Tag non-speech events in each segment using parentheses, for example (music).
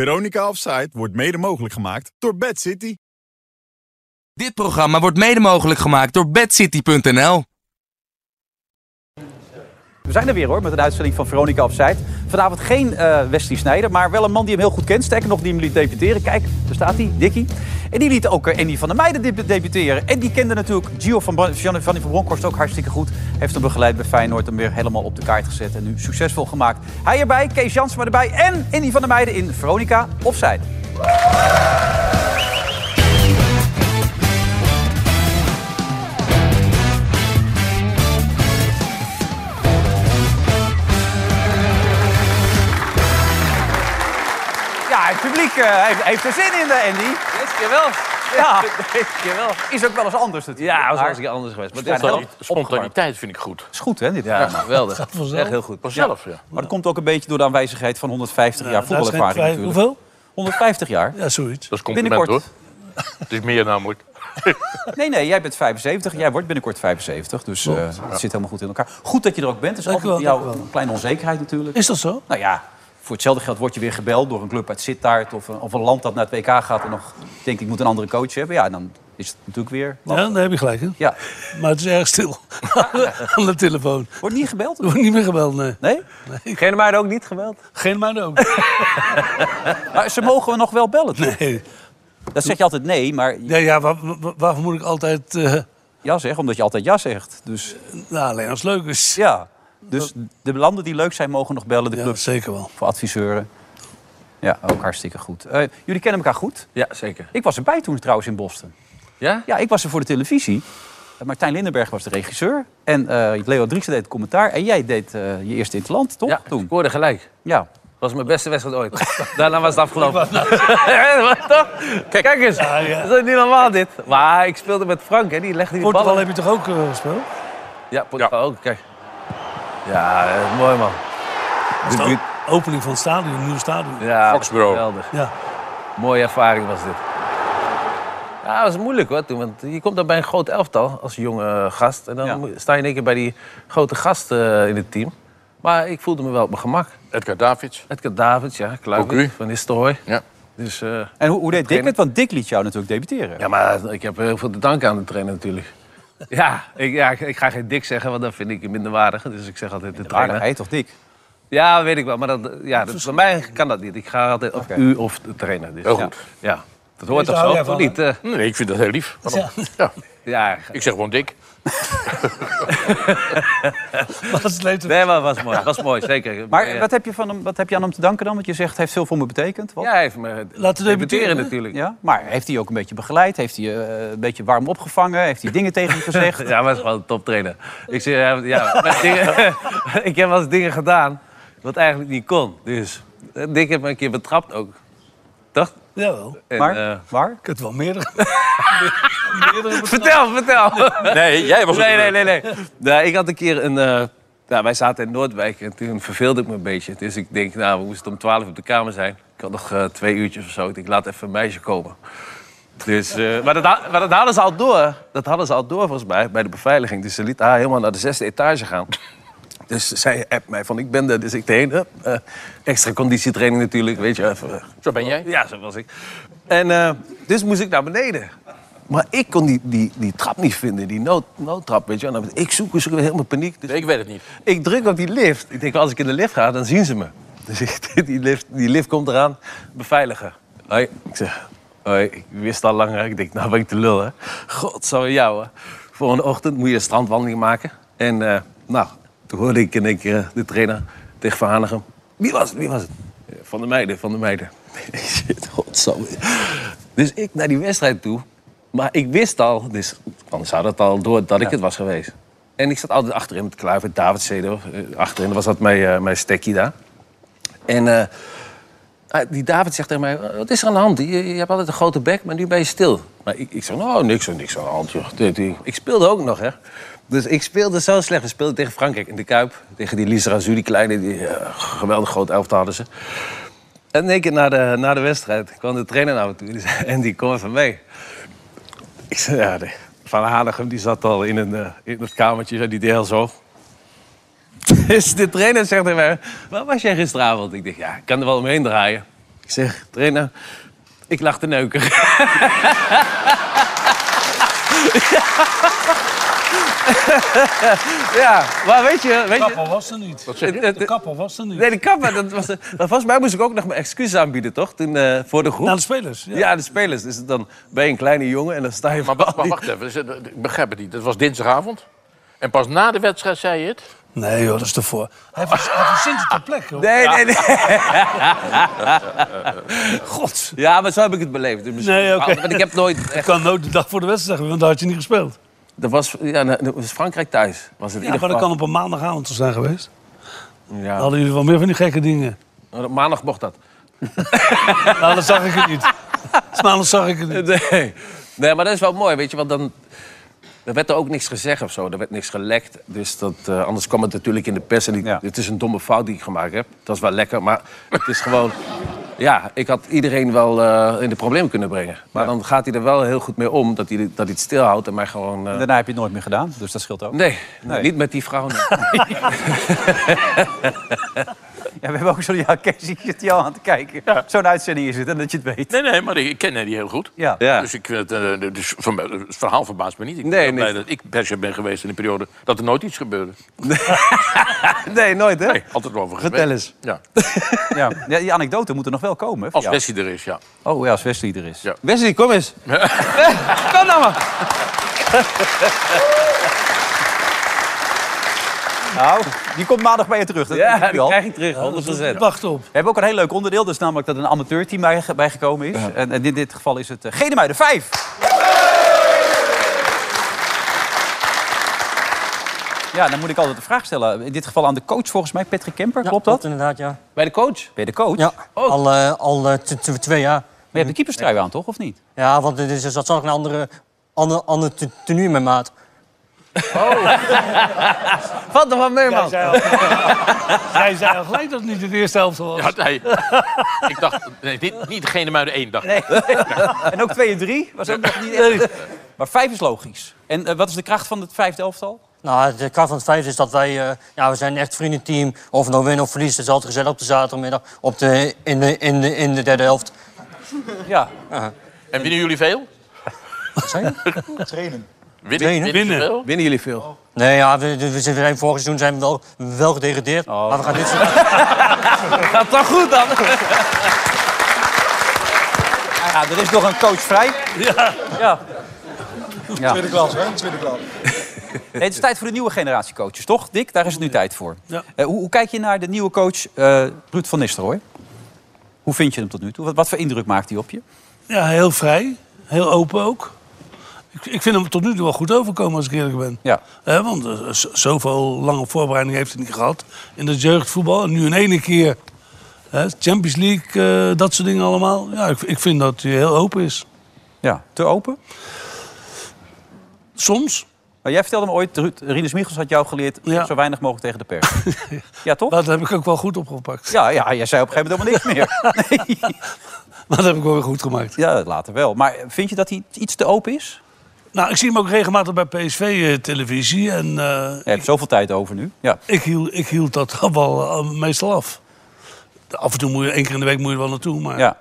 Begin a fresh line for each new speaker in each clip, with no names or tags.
Veronica Offside wordt mede mogelijk gemaakt door Bad City.
Dit programma wordt mede mogelijk gemaakt door bedcity.nl.
We zijn er weer hoor, met een uitzending van Veronica Offside. Vanavond geen eh Wesley Snijder, maar wel een man die hem heel goed kent. Sterker nog, die hem liet debuteren. Kijk, daar staat hij, Dikkie. En die liet ook eh, Andy van der Meijden deb- debuteren. En die kende natuurlijk Gio van, Bran- Gianni- Gianni van Bronckhorst ook hartstikke goed. Heeft hem begeleid bij Feyenoord en weer helemaal op de kaart gezet. En nu succesvol gemaakt. Hij erbij, Kees Jansma erbij en Andy van der Meijden in Veronica Offside. Ja, het publiek eh, heeft, heeft er zin in, eh, Andy.
Deze keer wel. (laughs)
Ja.
Deze keer wel.
Is ook wel eens anders natuurlijk.
Ja, dat was
Maar
hartstikke anders geweest. Maar
Ze zijn
dit is wel
helemaal
spontaniteit vind ik goed.
Is goed hè, dit
Ja,
programma.
geweldig. Echt heel goed. Vanzelf, ja.
Maar dat komt ook een beetje door de aanwezigheid van 150 jaar
Nou, Daar zijn
voetbalervaring
wij-
natuurlijk.
Hoeveel?
150 jaar.
Ja, zoiets.
Dat is compliment
Binnenkort.
hoor. Het is meer namelijk.
Nee, nee, jij bent 75. Jij wordt binnenkort 75. Dus eh, het zit helemaal goed in elkaar. Goed dat je er ook bent. Dus
Dank u
altijd
wel,
jouw
dank u wel.
kleine onzekerheid natuurlijk.
Is dat zo?
Nou ja, voor hetzelfde geld word je weer gebeld door een club uit Sittard... of een, of een land dat naar het WK gaat en nog denkt ik moet een andere coach hebben. Ja, dan is het natuurlijk weer...
Nou. Ja, daar heb je gelijk in.
Ja.
Maar het is erg (laughs) stil aan de telefoon.
Wordt niet gebeld?
Er wordt niet meer gebeld, nee.
Nee?
Geen maar ook niet geweld.
Geen maar ook.
Maar ze mogen we nog wel bellen. toch?
Nee.
Dat zeg je altijd nee, maar
Ja, ja, waar- waar- waarvoor moet ik altijd... eh,
ja zeg, omdat je altijd ja zegt. Dus
nou, alleen als het leuk is. Ja,
ja. Dus de landen die leuk zijn mogen nog bellen. De clubs
zeker wel.
voor adviseuren. Ja, ook hartstikke goed. Eh, jullie kennen elkaar goed.
Ja, zeker.
Ik was erbij toen trouwens in Boston.
Ja?
Ja, ik was er voor de televisie. Eh, Martijn Lindenberg was de regisseur. En eh, Leo Drieksen deed het commentaar. En jij deed eh, je eerste in het land, toch?
Ja, ik
toen.
scoorde gelijk.
Ja.
Dat was mijn beste wedstrijd ooit. (laughs) Daarna was het afgelopen. (laughs) Ja, maar toch? Kijk, eens.
ja.
Dat is niet normaal dit. Maar ik speelde met Frank, hè. die legde die
Portugal
ballen.
heb je toch ook eh, gespeeld?
Ja, Portugal ook. Kijk. Ja, eh, mooi man.
Dat is de Opening van het stadion, een nieuw stadion. Ja.
Ja,
Foxborough.
Geweldig. Mooie ervaring was dit. Ja, dat was moeilijk hoor toen. Want je komt dan bij een groot elftal als jonge eh, gast. En dan
Ja.
moet- sta je in één keer bij die grote gast eh, in het team. Maar ik voelde me wel op mijn gemak.
Edgar Davids.
Edgar Davids, ja,
Ook u.
Kluivert, Van Nistelrooy.
Ja.
Dus, eh,
En hoe, hoe deed Dick het? Want Dick liet jou natuurlijk debuteren.
ja, maar ik heb heel veel te danken aan de trainer natuurlijk. (laughs) Ja, ik, ja, ik- ik ga geen dik zeggen, want dat vind ik minderwaardig. Dus ik zeg altijd de
Aardig,
trainer.
hij toch Dick?
Ja, weet ik wel. Maar dat, ja, dat, bij mij kan dat niet. Ik ga altijd op u of de trainer. Dus,
Heel
ja.
goed.
Ja, dat hoort
Daar
toch
hou
zo?
jij
Of
van,
niet? eh?
Nee, ik vind dat heel lief. Waarom? Ja.
ja,
Ik zeg gewoon dik.
(laughs) Maar het leeft
Nee, maar het was mooi. Het was mooi, zeker.
(laughs) Maar
ja.
wat, heb je van hem, wat heb je aan hem te danken dan? Want je zegt, hij heeft veel voor me betekent. Wat?
Ja, hij heeft me
Laten we debuteren, hè?
natuurlijk. Ja,
Ja, Maar heeft hij ook een beetje begeleid? Heeft hij eh, een beetje warm opgevangen? Heeft hij dingen tegen je
(laughs)
gezegd?
maar hij is gewoon een toptrainer. Ik, zeg, ja, ja, maar dingen, (laughs) ik heb wel eens dingen gedaan wat eigenlijk niet kon. Dus eh, Dick heeft me een keer betrapt ook. Toch?
Jawel.
En,
Maar,
eh,
waar?
Ik heb wel meerdere.
(laughs) vertel, vertel.
Nee, jij was
Nee, nee, nee, nee. Nou, ik had een keer een... eh, nou, wij zaten in Noordwijk en toen verveelde ik me een beetje. Dus ik denk, nou, we moesten om twaalf op de kamer zijn. Ik had nog eh, twee uurtjes of zo. Ik denk, laat even een meisje komen. Dus, eh, maar, dat, ha- maar dat hadden ze al door. Dat hadden ze al door, volgens mij, bij de beveiliging. Dus ze liet haar helemaal naar de zesde etage gaan. Dus zij appt mij van, ik ben er. Dus ik deed, hup, eh, extra conditietraining natuurlijk, weet je. Even, eh,
Zo ben jij.
ja, zo was ik. En eh, dus moest ik naar beneden. Maar ik kon die, die, die trap niet vinden, die nood, noodtrap, weet je wel. En dan- Ik zoek, ik zoek, helemaal paniek. Dus
Nee, ik weet het niet.
ik druk op die lift. Ik denk, als ik in de lift ga, dan zien ze me. Dus ik, (laughs) die, lift, die lift komt eraan, beveiliger. Hoi. Ik zeg, hoi, ik wist al langer. Ik denk, nou ben ik te lul, hè. God, zou jou, hè. Volgende ochtend moet je een strandwandeling maken. En eh, nou, toen hoorde ik in één keer eh, de trainer tegen Van Hanegem. Wie was het, wie was het? Eh, Van de meiden, van de meiden. (laughs) Ik zit, god, zo. Dus ik naar die wedstrijd toe. Maar ik wist al, dus anders had het al door dat ik het was geweest. En ik zat altijd achterin met Kluivert, David Seedorf. Eh, Achterin was dat mijn, eh, mijn stekkie daar. En eh, ah, die David zegt tegen mij, "Eh, wat is er aan de hand? Je, je hebt altijd een grote bek, maar nu ben je stil. Maar ik, ik zeg, nou, niks, niks aan de hand. Joh. Dit- dit- Ik speelde ook nog, hè. Dus ik speelde zo slecht. We speelden tegen Frankrijk in de Kuip. Tegen die Lisa Razou, die kleine, die eh, geweldig groot elftal hadden ze. En in één keer na de, na de wedstrijd kwam de trainer naar me toe. Die zei, (laughs) en die kom even mee. Ik zei, ja, de- Van Hanegem die zat al in, een, eh, in het kamertje, zo, die deed al zo. (laughs) Dus de trainer zegt tegen mij, waar was jij gisteravond? Ik dacht, ja, ik kan er wel omheen draaien. Ik zeg, trainer, ik lag te neuken. (laughs) ja, maar weet je... Weet je
Kapper was er niet.
zeg (laughs) je?
De kapper was er niet.
nee, de kapper, dat was... Maar volgens mij moest ik ook nog mijn excuses aanbieden, toch? Toen, eh, voor de groep.
Naar de spelers. Ja.
ja. de spelers. Dus dan ben je een kleine jongen en dan sta je...
Maar
voor al
wacht, maar
die-
wacht even, Dus, eh, ik begrijp het niet. Dat was dinsdagavond. En pas na de wedstrijd zei je het.
Nee joh, dat is ervoor. Hij vers- hij verzint het ter plekke. hoor.
Nee, nee, nee.
God.
Ja, maar zo heb ik het beleefd. Dus misschien-
Nee, oké.
Want ik heb nooit...
Ik kan nooit de dag voor de wedstrijd zeggen, want dan had je niet gespeeld.
Dat was, ja, nou, dat was Frankrijk thuis. Was het in
Ja,
ieder
maar dat kan
geval.
op een maandagavond zo zijn geweest.
Ja.
Dan hadden jullie wel meer van die gekke
(laughs)
dingen.
Op Maandag mocht dat.
Nou, dat zag ik het niet. Smaandag zag ik het niet.
(laughs) Nee. nee, maar dat is wel mooi, weet je. Want dan er werd er ook niks gezegd of zo. Er werd niks gelekt. Dus dat, eh, anders kwam het natuurlijk in de pers. En ik-
Ja.
Het is een domme fout die ik gemaakt heb. Dat is wel lekker, maar het is gewoon... Ja, ik had iedereen wel eh, in de problemen kunnen brengen. Maar dan gaat hij er wel heel goed mee om dat hij, dat hij het stilhoudt en mij gewoon... eh,
En daarna heb je het nooit meer gedaan, dus dat scheelt ook.
nee,
Nee.
niet met die vrouw. (laughs) nee.
Ja, we hebben ook zo'n... Ja, Kees, ik zit hier al aan te kijken. Zo'n uitzending is het, en dat je het weet.
Nee, nee, maar ik ken die heel goed.
Ja.
Ja.
Dus ik, vind het, eh, de- dus van mij- het verhaal verbaast me niet. Ik ben
Nee,
heel blij
niet.
dat ik persje ben geweest in de periode dat er nooit iets gebeurde.
nee, nooit, hè?
Nee, altijd wel over
Vertel
geweten. Ja.
Ja. Ja, die anekdote moet er nog wel komen. hè, voor
Als
jou.
Bessie er is, ja.
Oh ja, als Wesley er is.
Ja.
Wesley, kom eens. Kom nou maar.
Nou, die komt maandag bij je terug. Dat weet
Ja,
ik nu
die
al.
krijg ik terug, 100%.
Wacht op.
We hebben ook een heel leuk onderdeel. Dat is namelijk dat een amateurteam bij, bijgekomen is. En, en in dit geval is het uh, Genemuiden 5. Ja, dan moet ik altijd de vraag stellen. In dit geval aan de coach volgens mij, Patrick Kemper.
Ja,
klopt dat? Ben
inderdaad, ja.
Bij de coach.
je de coach?
ja.
Maar
Al, eh, al eh, t- t- twee jaar.
je hebt de keeperstrui aan, toch? Of niet?
Ja, want dit is, dus, dat zag ik een andere, ander, ander t- tenue in mijn maat.
Wat er van mee,
Jij
man.
zei al, Jij zei al gelijk dat het niet in de eerste helft was.
Ja, nee. (laughs) ik dacht, nee, niet, niet degene maar de één dag.
Nee. en ook 2 en 3 was ook nog niet echt. Maar 5 is logisch. En eh, wat is de kracht van het vijfde elftal?
Nou, de kracht van het feit is dat wij... eh, ja, we zijn een echt vriendenteam. Of nou winnen of verliezen. Het is altijd gezellig op de zaterdagmiddag. Op de, in, de, in, de, in de derde helft.
Ja.
En winnen jullie veel?
Wat zei je?
(laughs) Winnen?
Winnen.
winnen. ze veel?
Winnen jullie veel?
Nee, ja, we, we- we zijn vorig seizoen zijn we wel, wel gedegradeerd. Maar we gaan dit seizoen...
Gaat toch goed dan?
ja, er is nog een coach vrij. Ja. ja. Tweede klas, hè? Tweede klas. het is tijd voor de nieuwe generatie coaches, toch, Dick? Daar is het nu tijd voor.
Ja.
Eh, hoe, hoe kijk je naar de nieuwe coach eh Ruud van Nistelrooy? Hoe vind je hem tot nu toe? Wat, wat voor indruk maakt hij op je?
Ja, heel vrij. Heel open ook. Ik, ik vind hem tot nu toe wel goed overkomen, als ik eerlijk ben.
Ja.
Hè, want eh, z- zoveel lange voorbereiding heeft hij niet gehad in het jeugdvoetbal. En nu in ene keer hè, Champions League, eh, dat soort dingen allemaal. Ja, ik, ik vind dat hij heel open is.
ja. Te open?
Soms.
Maar Oh, jij vertelde me ooit, Ruud, Rinus Michels had jou geleerd...
Ja.
zo weinig mogelijk tegen de pers.
(laughs)
ja, toch?
Maar dat heb ik ook wel goed opgepakt.
Ja, ja, jij zei op een gegeven moment helemaal niks meer. (laughs) Nee.
Maar (laughs) dat heb ik wel weer goed gemaakt.
Ja, later wel. Maar vind je dat hij iets te open is?
Nou, ik zie hem ook regelmatig bij PSV-televisie. En eh,
Je hebt zoveel tijd over nu. Ja.
ik, hield, ik hield dat (laughs) wel eh, meestal af. Af en toe moet je, één keer in de week moet je er wel naartoe. Maar
Ja.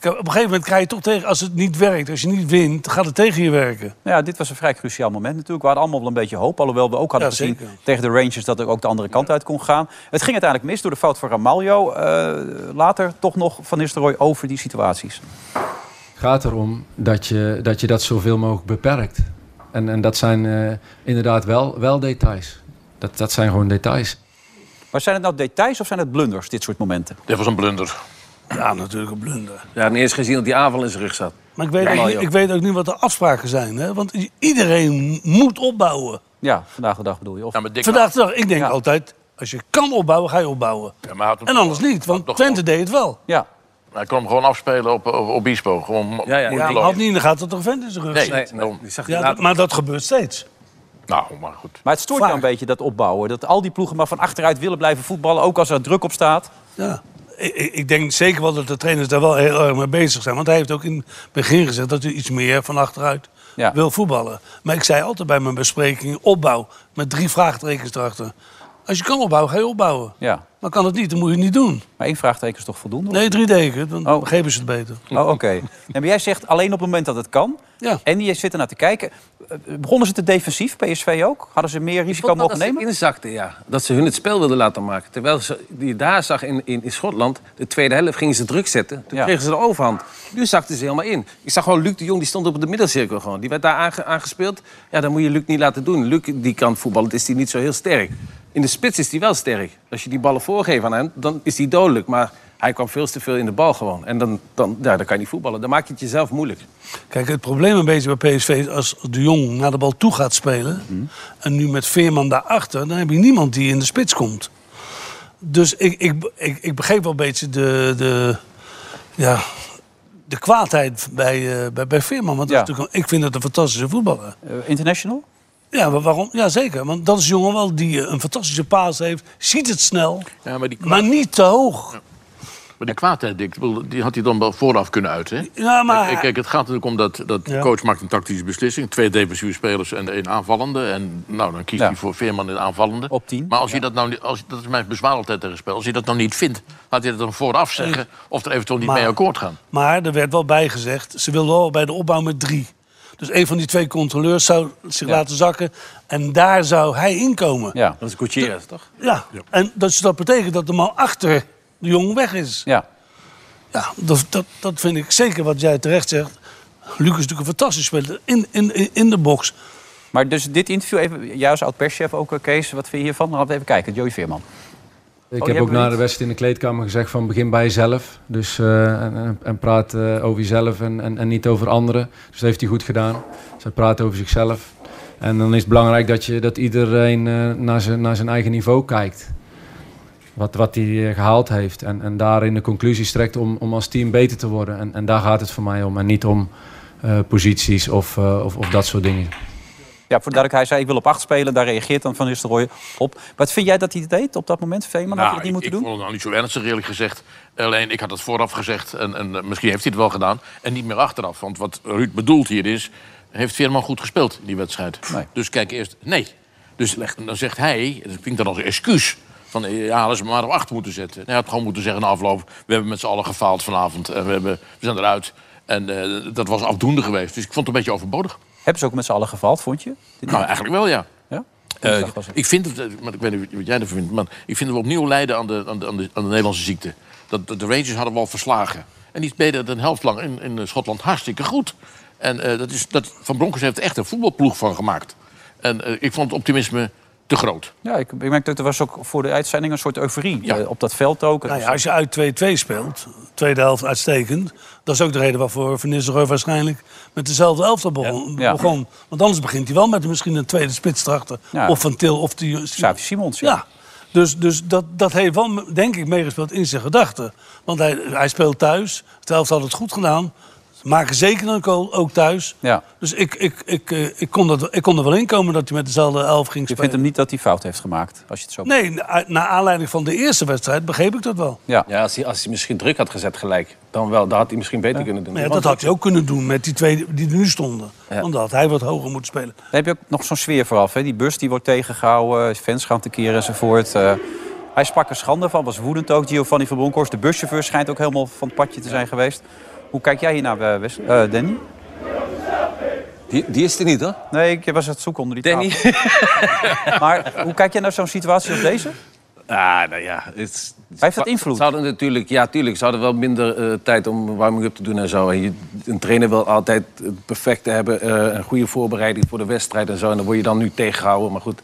Kijk, op een gegeven moment krijg je toch tegen, als het niet werkt, als je niet wint, gaat het tegen je werken.
Nou ja, dit was een vrij cruciaal moment natuurlijk. We hadden allemaal wel een beetje hoop. Alhoewel we ook hadden
Ja,
gezien
zeker.
tegen de Rangers dat het ook de andere kant uit kon gaan. Het ging uiteindelijk mis door de fout van Ramaljo. Eh, later toch nog Van Nistelrooy over die situaties.
gaat erom dat je dat, je dat zoveel mogelijk beperkt. En, en dat zijn eh, inderdaad wel, wel details. Dat, dat zijn gewoon details.
Maar zijn het nou details of zijn het blunders, dit soort momenten?
Dit was een blunder.
Ja, natuurlijk een blunder.
Ja, en eerst gezien dat die aanval in zijn rug zat.
Maar ik weet, ook, niet, ik weet ook niet wat de afspraken zijn. Hè? Want i- iedereen moet opbouwen.
Ja, vandaag de dag bedoel je. Of...
Ja, maar Nou, Dick,
Vandaag de dag, ik denk
Ja.
altijd, als je kan opbouwen, ga je opbouwen.
Ja, maar hij, had hem-
En anders niet, want
Toch
Twente deed het wel.
Ja.
hij kon hem gewoon afspelen op, eh, op, op Bispo. Gewoon mo-
Ja, ja,
moeilijk
Ja,
lopen.
had niet in de gaten dat er een vent in zijn rug
Nee,
zit.
nee,
Nee, die zag je
Ja,
later.
dat- maar dat gebeurt steeds.
Nou, maar goed.
Maar het stoort jou een beetje, dat opbouwen. Dat al die ploegen maar van achteruit willen blijven voetballen. Ook als er druk op staat.
Ja. Ik, ik ik denk zeker wel dat de trainers daar wel heel erg mee bezig zijn. Want hij heeft ook in het begin gezegd dat hij iets meer van achteruit
Ja.
wil voetballen. Maar ik zei altijd bij mijn bespreking opbouw met drie vraagtekens erachter. Als je kan opbouwen, ga je opbouwen.
Ja.
Maar kan het niet, dan moet je het niet doen.
Maar één vraagteken is toch voldoende?
Nee, drie deken, dan
Oh.
geven ze het beter.
Oh, oké. Nee, maar jij zegt alleen op het moment dat het kan.
Ja.
En die zit ernaar te kijken. Eh, Begonnen ze te defensief, PSV ook? Hadden ze meer risico mogen
dat ze
nemen?
inzakten, ja. Dat ze hun het spel wilden laten maken. Terwijl ze, je daar zag in, in, in Schotland, de tweede helft gingen ze druk zetten. Toen
Ja.
kregen ze de overhand. Nu zakten ze helemaal in. Ik zag gewoon Luc de Jong, die stond op de middencirkel gewoon. Die werd daar aange- aangespeeld. Ja, dan moet je Luc niet laten doen. Luc, die kan voetballen, is die niet zo heel sterk. In de spits is hij wel sterk. Als je die ballen voorgeeft aan hem, dan is hij dodelijk. Maar hij kwam veel te veel in de bal gewoon. En dan, dan, ja, dan kan je niet voetballen. Dan maak je het jezelf moeilijk.
Kijk, het probleem een beetje bij PSV is als de Jong naar de bal toe gaat spelen... en nu met Veerman daarachter, dan heb je niemand die in de spits komt. Dus ik, ik, ik, ik begreep wel een beetje de, de, ja, de kwaadheid bij, eh, bij, bij Veerman. Want dat
Ja.
is natuurlijk, een- ik vind het een fantastische voetballer.
Eh, international?
Ja, maar waarom? Ja, zeker. Want dat is een jongen wel die eh, een fantastische paas heeft. Ziet het snel,
Ja, maar die, kwa-
maar niet te hoog.
maar die kwaadheid, Dick, ik bedoel, die had hij dan wel vooraf kunnen uiten. hè?
Ja,
Kijk,
maar...
Kijk, het gaat natuurlijk om dat, dat de
Ja.
coach maakt een tactische beslissing. Twee defensieve spelers en één aanvallende. En nou, dan kiest
Ja.
hij voor Veerman in de aanvallende.
Op tien.
Maar als je dat nou niet, als, dat is mijn bezwaar altijd tegen spel. Als je dat nou niet vindt, laat hij dat dan vooraf zeggen. Of er eventueel niet
Maar-
mee akkoord gaan.
Maar er werd wel bijgezegd, ze wilden wel bij de opbouw met drie. Dus een van die twee controleurs zou zich laten zakken. En daar zou hij inkomen. Ja.
Ja.
Dat is Gutierrez, toch?
En dat, dat betekent dat de man achter de jongen weg is.
ja.
Ja, dat, dat, dat vind ik zeker wat jij terecht zegt. Luc is natuurlijk een fantastisch speler in, in, in- in de box.
Maar dus dit interview, even, jij als oud-perschef ook, eh, Kees, wat vind je hiervan? Laten we even kijken, Joey Veerman.
Ik
Oh,
heb
jij
ook na
bent-
de wedstrijd in de kleedkamer gezegd van begin bij jezelf. Dus, eh, en- en, en praat eh, over jezelf en, en, en niet over anderen. Dus dat heeft hij goed gedaan. Zij praat over zichzelf. En dan is het belangrijk dat, je, dat iedereen eh, naar, zijn, naar zijn eigen niveau kijkt. Wat, wat hij eh, gehaald heeft. En, en daarin de conclusies trekt om, om als team beter te worden. En, en daar gaat het voor mij om. En niet om eh, posities of, eh, of, of dat soort dingen.
Ja, voor de duidelijkheid, hij zei ik wil op acht spelen. Daar reageert dan Van Nistelrooy op. Wat vind jij dat hij het deed op dat moment, Veerman? had je dat niet
ik,
moeten
ik
doen?
vond het nou niet zo ernstig, eerlijk gezegd. Alleen, ik had het vooraf gezegd en, en eh, misschien heeft hij het wel gedaan. En niet meer achteraf. Want wat Ruud bedoelt hier is... heeft Veerman goed gespeeld, die wedstrijd.
Nee.
Dus kijk eerst, nee. Dus dan zegt hij, en dat klinkt dan als excuus... van eh, ja, hadden ze me maar op acht moeten zetten. Hij had gewoon moeten zeggen na afloop... we hebben met z'n allen gefaald vanavond en we, hebben, we zijn eruit... En eh, dat was afdoende geweest. Dus ik vond het een beetje overbodig.
Hebben ze ook met z'n allen gevallen, vond je? Dit-
Nou, eigenlijk wel, ja.
ja?
Eh,
Woensdag was het.
ik vind het, eh, maar ik weet niet wat jij ervan vindt, maar ik vind het opnieuw lijden aan de, aan de, aan de, aan de Nederlandse ziekte. Dat, dat de Rangers hadden wel verslagen. En die spelen een helft lang in, in eh, Schotland hartstikke goed. En eh, dat is, dat, Van Bronckhorst heeft er echt een voetbalploeg van gemaakt. En eh, ik vond het optimisme te groot.
Ja, ik, ik merkte dat er was ook voor de uitzending een soort euforie
Ja.
eh, op dat veld ook. Het
Nou ja,
was-
als je uit 2-2 speelt, tweede helft uitstekend. Dat is ook de reden waarvoor Van Nistelrooy waarschijnlijk met dezelfde elftal begon.
Ja.
begon. Want anders begint hij wel met misschien een tweede spits erachter.
Ja.
Of Van Til of die...
Xavi Simons, ja.
Ja, dus, dus dat, dat heeft wel, denk ik, meegespeeld in zijn gedachten. Want hij, hij speelt thuis. Het helft had het goed gedaan. Ze maken zeker een goal, ook thuis.
Ja.
Dus ik, ik, ik, eh, ik, kon dat, ik kon er wel in komen dat hij met dezelfde elf ging
Je
spelen.
vindt hem niet dat hij fout heeft gemaakt, als je het zo...
Nee, na- naar aanleiding van de eerste wedstrijd begreep ik dat wel.
Ja.
Ja, als hij, als hij misschien druk had gezet gelijk, dan wel. Dat had hij misschien beter kunnen doen.
Maar ja,
Want-
dat had hij ook kunnen doen met die twee die er nu stonden. Omdat hij wat hoger moet spelen.
Dan heb je ook nog zo'n sfeer vooraf. Hè? Die bus die wordt tegengehouden, eh, fans gaan tekeer enzovoort. Eh, hij sprak er schande van, was woedend ook. Giovanni van Bronckhorst, de buschauffeur, schijnt ook helemaal van het padje te zijn geweest. Hoe kijk jij hiernaar, eh, Wes- eh, Danny?
Die, die is er niet, hoor.
Nee, ik was aan het zoeken onder die
Danny.
tafel. Maar hoe kijk jij naar zo'n situatie als deze?
(laughs) Ah, nou ja. Het, is-
Heeft dat invloed?
Ze hadden natuurlijk, ja, tuurlijk. Ze hadden wel minder eh, tijd om warming-up te doen en zo. En je, een trainer wil altijd het perfecte hebben. eh, een goede voorbereiding voor de wedstrijd en zo. En dan word je dan nu tegengehouden. Maar goed,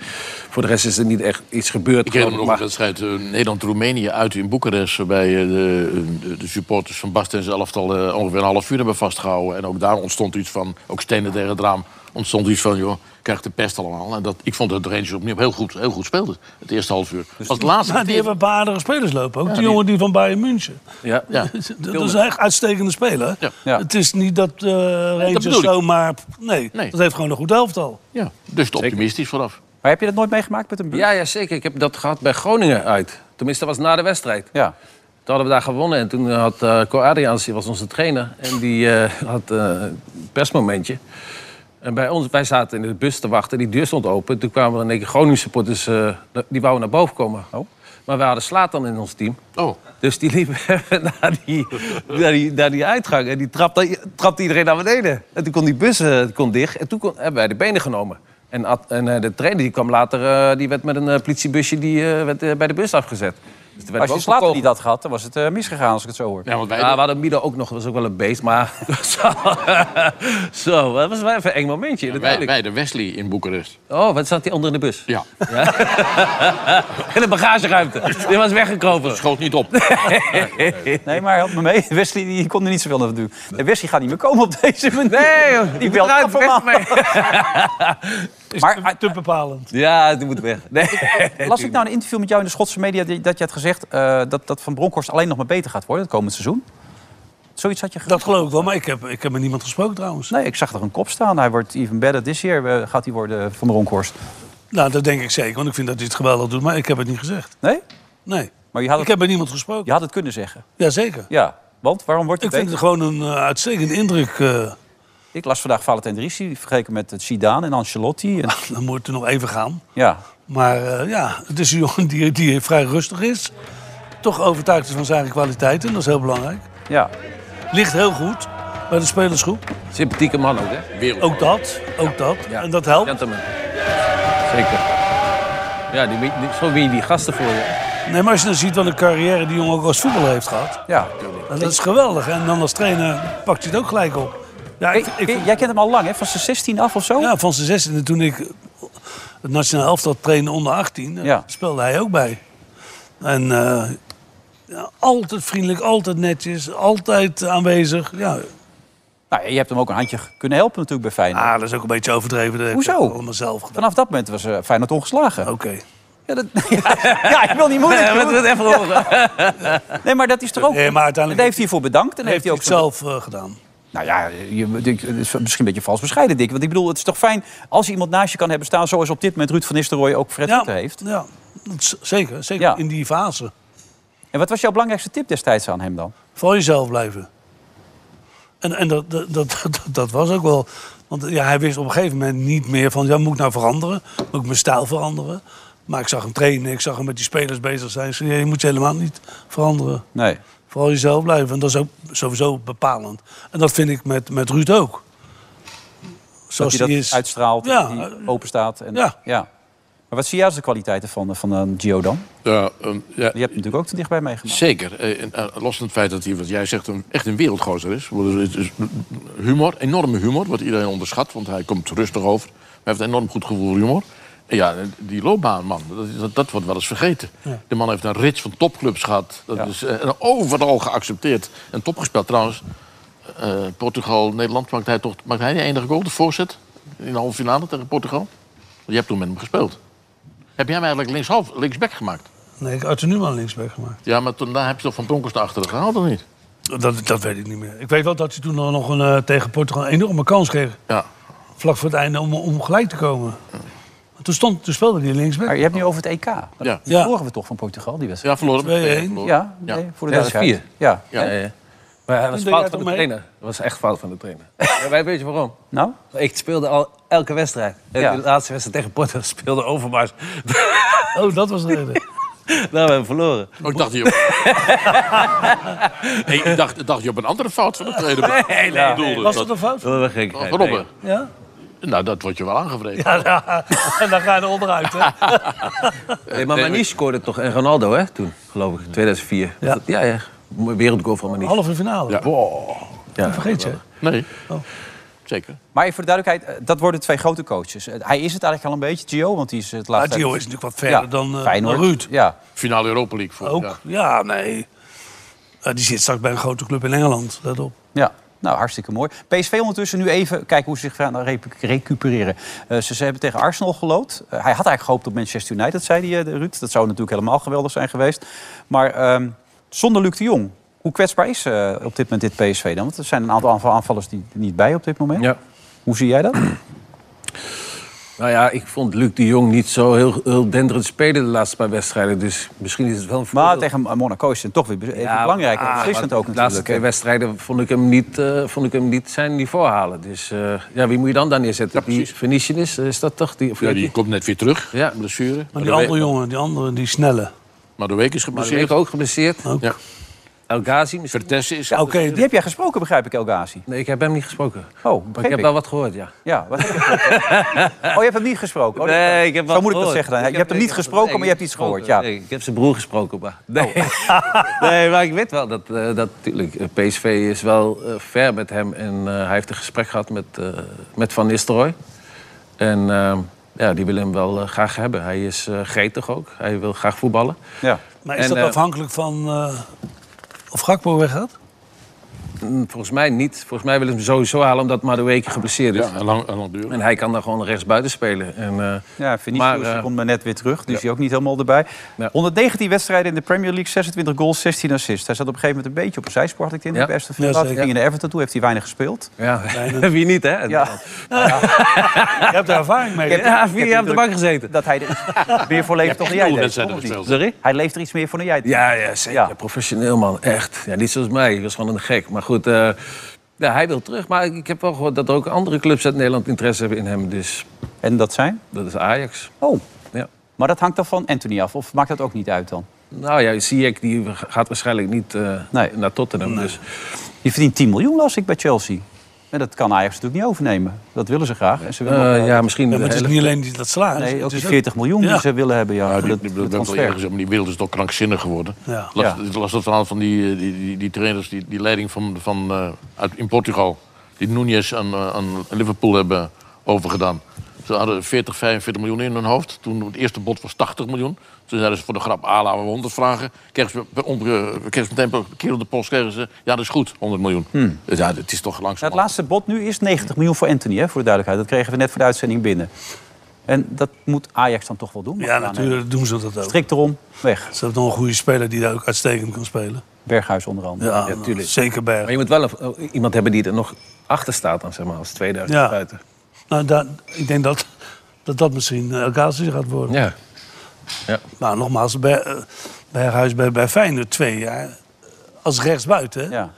voor de rest is er niet echt iets gebeurd.
Ik herinner me
geloof
nog een
ik. Maar-
wedstrijd eh, Nederland-Roemenië uit in Boekarest... waarbij eh, de, de supporters van Basten en zijn elftal eh, ongeveer een half uur hebben vastgehouden. En ook daar ontstond iets van, ook stenen tegen het raam... ontstond iets van, joh, krijgt de pest allemaal. En dat, ik vond dat de Rangers opnieuw heel goed, heel goed speelden. Het eerste half uur. Als het laatste
Maar die hebben een paar aardige spelers lopen. Ook die jongen die van Bayern München.
Ja, ja.
(laughs) Dat is echt uitstekende speler.
Ja.
Ja.
Het is niet dat eh Rangers
bedoel ik.
zomaar... Nee,
Nee.
dat heeft gewoon een goed elftal.
ja, dus te optimistisch vooraf.
Maar heb je dat nooit meegemaakt met een bus?
ja, ja, zeker. Ik heb dat gehad bij Groningen uit. Tenminste, dat was na de wedstrijd.
Ja.
Toen hadden we daar gewonnen en toen had eh Cor Adriaans, die was onze trainer, en die eh, had eh, een persmomentje. En bij ons, wij zaten in de bus te wachten, die deur stond open. Toen kwamen er in één keer Groningen supporters, eh, die wouden naar boven komen.
Oh.
Maar we hadden slaat dan in ons team.
Oh,
Dus die liep (laughs) even naar die, naar die, naar die uitgang. En die trapte, trapte iedereen naar beneden. En toen kon die bus eh, kon dicht. En toen kon, hebben wij de benen genomen. En, at- en eh, de trainer die kwam later, eh, die werd met een eh, politiebusje die, eh, werd, eh, bij de bus afgezet. Dus toen werd
Als
ik
je
ook
slaat
bekogeld.
niet had gehad, dan was het eh, misgegaan als ik het zo hoor.
ja, want wij...
Ja, we hadden Mido ook nog, was ook wel een beest, maar... (laughs) zo, zo, dat was wel even een eng momentje,
Wij,
natuurlijk.
wij de Wesley in Boekarest.
Oh, wat zat hij onder in de bus?
Ja,
(laughs) In de
(laughs)
bagageruimte. Die was weggekropen.
schoot niet op.
(laughs) Nee, maar help me mee. Wesley die kon er niet zoveel aan doen. Nee, Wesley gaat niet meer komen op deze manier.
Nee, joh,
die
moet
belt
eruit,
af en aan.
weg ermee.
Maar
Te bepalend.
Ja, die moet weg. Nee.
Las ik nou een interview met jou in de Schotse media die- dat je had gezegd eh, dat, dat Van Bronckhorst alleen nog maar beter gaat worden het komend seizoen? Zoiets had je gezegd?
Dat geloof ik wel, maar ik heb, ik heb met niemand gesproken trouwens.
Nee, ik zag er een kop staan. Hij wordt even better this year, eh, gaat hij worden Van Bronckhorst.
Nou, dat denk ik zeker, want ik vind dat hij het geweldig doet, maar ik heb het niet gezegd.
Nee?
Nee,
Maar je had
ik
het,
heb met niemand gesproken.
je had het kunnen zeggen.
Jazeker.
Ja, want waarom wordt
Ik
het
vind
beter?
het gewoon een eh, uitstekende indruk. eh.
Ik las vandaag Valentijn Drissi vergeleken met het Zidane en Ancelotti.
(laughs)
En,
dan moet het er nog even gaan.
ja.
Maar eh, ja, het is een (laughs) jongen die, die vrij rustig is. Toch overtuigd is van zijn eigen kwaliteiten, dat is heel belangrijk.
ja.
Ligt heel goed bij de spelersgroep.
Sympathieke man ook, hè?
Ook dat, ook dat. En dat helpt.
Gentleman. Zeker. Ja, die, die- zo win je die gasten voor je.
Nee, maar als je dan ziet wat een carrière die jongen ook als voetballer heeft gehad.
ja.
nou, Dat is geweldig. En dan als trainer pakt hij het ook gelijk op. Ja, ik,
Hey,
ik,
jij kent hem al lang, hè? Van zijn 16 af of zo?
ja van zijn 16 toen ik het nationaal elftal trainde onder 18, eh,
Ja.
speelde hij ook bij. En eh, ja, altijd vriendelijk, altijd netjes, altijd aanwezig. Ja,
Nou, je hebt hem ook een handje kunnen helpen natuurlijk bij Feyenoord.
ah, dat is ook een beetje overdreven. Dat heb
Hoezo?
ik ook allemaal zelf gedaan.
Vanaf dat moment was eh, Feyenoord ongeslagen.
Oké.
Ja, dat, (laughs) ja, ik wil niet moeilijk
Ja,
doen.
wat, wat even horen.
Nee, maar Oh, dat is toch ook...
Nee, maar uiteindelijk
Daar heeft hij voor bedankt. En heeft hij ook
het zelf eh, gedaan.
Nou ja, je, ik- het is misschien een beetje vals bescheiden, Dick. Want ik bedoel, het is toch fijn als je iemand naast je kan hebben staan... zoals op dit moment Ruud van Nistelrooy ook Fred Rutte heeft.
ja dat is- zeker. Zeker
Ja.
in die fase.
En wat was jouw belangrijkste tip destijds aan hem dan?
Voor jezelf blijven. En, en dat, dat, dat, dat, dat was ook wel. Want ja, hij wist op een gegeven moment niet meer van... Ja, moet ik nou veranderen? Moet ik mijn stijl veranderen? Maar ik zag hem trainen, ik zag hem met die spelers bezig zijn. Ik zei, ja, je moet je helemaal niet veranderen.
Nee.
Vooral jezelf blijven. En dat is ook sowieso bepalend. En dat vind ik met, met Ruud ook.
Dat
Zoals
hij dat
hij is.
uitstraalt,
Ja,
dat hij
eh,
open staat. En,
ja.
Maar wat zie jij als de kwaliteiten van, van eh, Gio dan?
Ja, um, ja,
Je hebt hem natuurlijk ook te dichtbij meegemaakt.
Zeker. Eh, en, eh, los van het feit dat hij, wat jij zegt, een, echt een wereldgozer is. Want het is humor, enorme humor, wat iedereen onderschat. Want hij komt rustig over. Hij heeft een enorm goed gevoel voor humor. En ja, die loopbaan, man, dat, dat, dat wordt wel eens vergeten. De man heeft een rits van topclubs gehad. Dat is eh, en overal geaccepteerd. En topgespeeld trouwens. eh, Portugal, Nederland, maakt hij, toch, maakt hij de enige goal, de voorzet? In de halve finale tegen Portugal? Want je hebt toen met hem gespeeld. Heb jij hem eigenlijk linkshalf, linksback gemaakt?
Nee, ik had Arthur Newman linksback gemaakt.
Ja, maar toen, daar heb je toch van Broncos naar achteren gehaald, of niet?
Dat, dat weet ik niet meer. Ik weet wel dat hij toen nog een, eh, tegen Portugal een enorme kans kreeg.
Ja.
Vlak voor het einde om, om gelijk te komen. Maar Toen, stond, toen speelde hij
Maar
linksback.
je hebt nu over het EK. Dat
Ja.
Ja.
verloren we toch van Portugal, die wedstrijd?
Ja, verloren.
2-1.
Verloren.
Ja, nee, voor de
Ja, dat is
duidelijkheid. Ja.
Ja.
Ja, ja. Maar hij was
Toen deed
fout
jij
van de
toch mee?
trainer. Dat was echt fout van de trainer. Ja, wij weet je waarom?
Nou?
Ik speelde al elke wedstrijd. En
Ja.
De laatste wedstrijd tegen Porto speelde Overmars. (laughs)
Oh, dat was de reden.
Nou, we hebben verloren.
Oh, ik dacht je (laughs) op... nee, ik dacht, ik dacht je op een andere fout van de tweede. Nee, nee, bedoelde.
Was dat een fout?
Dat was gek.
Oh, Robben.
Ja?
Nou, dat wordt je wel aangevreden.
Ja, ja. (laughs) en dan ga je er onderuit. Hè?
Eh,
Eh, Nee, maar Maniche scoorde toch en Ronaldo, hè? Toen, geloof ik, 2004.
Ja. Oh.
Dat- ja. ja. Mooie Wereldgoal van Maniche.
Halve finale.
Ja.
Ja.
Vergeet je.
Nee. Zeker.
Maar voor de duidelijkheid, eh, dat worden twee grote coaches. Eh, Hij is het eigenlijk al een beetje, Gio, want die is het
Maar
laatste...
Ah, Gio is natuurlijk wat verder dan, eh, dan
Feyenoord.
Ruud.
Ja,
Finale Europa League voor.
Ook.
Ja.
Ja, nee. Eh, die zit straks bij een grote club in Engeland. Let op.
ja. Nou, hartstikke mooi. PSV ondertussen nu even kijken hoe ze zich gaan recu- recupereren. Eh, ze, ze hebben tegen Arsenal gelood. Eh, hij had eigenlijk gehoopt op Manchester United, zei hij, eh, de Ruud. Dat zou natuurlijk helemaal geweldig zijn geweest. Maar ehm, zonder Luc de Jong, hoe kwetsbaar is eh, op dit moment dit PSV dan? Want
(clears throat)
er zijn een aantal aanval- aanvallers die er niet bij op dit moment.
Ja.
Hoe zie jij dat?
Nou ja, ik vond Luc de Jong niet zo heel, heel denderend spelen de laatste paar wedstrijden. Dus misschien is het wel een
Maar
voordeel.
tegen Monaco is het toch weer be- even
Ja,
belangrijk. en
ah,
beslissend
maar
ook
De laatste
natuurlijk.
twee wedstrijden vond ik hem niet, eh, vond ik hem niet zijn niveau halen. Dus eh, ja, wie moet je dan daar neerzetten? die Venetian is, is dat toch? Die, of
Ja,
weet
die
je?
komt net weer terug.
Ja.
Blessure.
Maar die andere jongen, die andere, die snelle.
Maar de week is
Maar die
geblesseerd.
werd ook geblesseerd.
Ook.
Ja.
El Ghazi misschien.
Vertessen is...
Ja, oké.
Die heb jij gesproken, begrijp ik, El Ghazi.
Nee, ik heb hem niet gesproken.
Oh,
Maar ik heb wel wat gehoord, ja.
Ja, wat heb je
(laughs)
gesproken? Oh, je hebt hem niet gesproken? Oh, dat-
Nee, ik heb
Zo
wat
moet ik dat
gehoord.
zeggen dan. Je
Ik
hebt hem
ik
niet gesproken,
nee,
maar je hebt iets gehoord. Ja.
Nee, ik heb zijn broer gesproken, maar... Nee, nee maar ik weet wel dat, eh, dat natuurlijk, eh, PSV is wel eh, ver met hem. En eh, hij heeft een gesprek gehad met, eh, met Van Nistelrooy. En eh, ja, die willen hem wel eh, graag hebben. Hij is eh, gretig ook. Hij wil graag voetballen. (laughs)
Ja.
Maar is
En,
dat
eh,
afhankelijk van eh, of Gakpo weggaat?
Mm, Volgens mij niet. Volgens mij willen ze hem sowieso halen omdat Madueke geblesseerd is.
Ja, en lang, en lang duren.
En hij kan dan gewoon rechtsbuiten spelen. En, eh,
Ja, Vinicius
Maar, eh,
komt maar net weer terug, dus die ook niet helemaal erbij.
Ja.
119 wedstrijden in de Premier League, 26 goals, 16 assists. Hij zat op een gegeven moment een beetje op een zijspoor, had ik in.
Ja.
Bij Aston
Ja,
Villa,
zeker.
ging in de Everton toe, heeft hij weinig gespeeld.
ja, (laughs) wie niet, hè?
Ja,
Je hebt er ervaring mee.
Ik heb-
Ja,
ik heb
vier jaar op de
indruk
bank gezeten.
Dat hij
(laughs)
er meer voor leeft dan jij deed.
wedstrijden
of niet?
gespeeld.
Sorry?
Hij leeft er iets meer voor dan jij deed.
Ja, ja zeker.
Ja.
Professioneel, man. Echt. Ja, niet zoals mij. Ik was gewoon een gek. Maar goed, eh, ja, hij wil terug. Maar ik heb wel gehoord dat er ook andere clubs uit Nederland interesse hebben in hem. Dus
En dat zijn?
dat is Ajax.
Oh,
Ja.
maar dat hangt dan van Anthony af, of maakt dat ook niet uit dan?
Nou ja, Ziyech die gaat waarschijnlijk niet eh,
Nee.
naar Tottenham. Dus.
Die verdient 10 miljoen, las ik, bij Chelsea. En dat kan Ajax natuurlijk niet overnemen. Dat willen ze graag. En ze willen ook,
Eh,
eh,
ja, misschien
Ja, maar
de
het is
hele-
niet alleen die- dat salaris.
nee,
het
ook
is
die 40 miljoen die
Ja.
ze willen hebben. Ja,
Ja, Nou,
voor
Ah, die,
dat-
die,
dat
dat wel
transfer.
ergens, maar die wereld is toch krankzinnig geworden.
Ja.
Las,
Ja.
ik las dat verhaal van die, eh, die, die, die trainers, die, die leiding van, van, eh, uit, in Portugal. Die Nunes aan, eh, aan Liverpool hebben overgedaan. Ze hadden 40, 45 miljoen in hun hoofd. Toen het eerste bod was 80 miljoen. Toen zeiden ze voor de grap, ah, laten we 100 vragen. Kregen ze, per onbe- kregen ze meteen per keer op de post, kregen ze, ja, dat is goed, 100 miljoen. Dus ja, het is toch langzaam.
Nou, het laatste bod nu is 90 miljoen voor Anthony, hè, voor de duidelijkheid. Dat kregen we net voor de uitzending binnen. En dat moet Ajax dan toch wel doen?
Ja, natuurlijk doen ze dat ook.
Strikt erom, weg.
Ze hebben nog een goede speler die daar ook uitstekend kan spelen.
Berghuis onder andere.
Ja, nou,
tuurlijk.
zeker
Maar
Berg.
je moet wel een- eh, iemand hebben die er nog achter staat dan, zeg maar, als 2000
Ja.
buiten.
Nou, daar, ik denk dat dat, dat misschien El Ghazi gaat worden.
Ja.
Nou, nogmaals, Ber- eh, Berghuis bij, bij Feyenoord twee jaar als rechtsbuiten. hè.
Ja.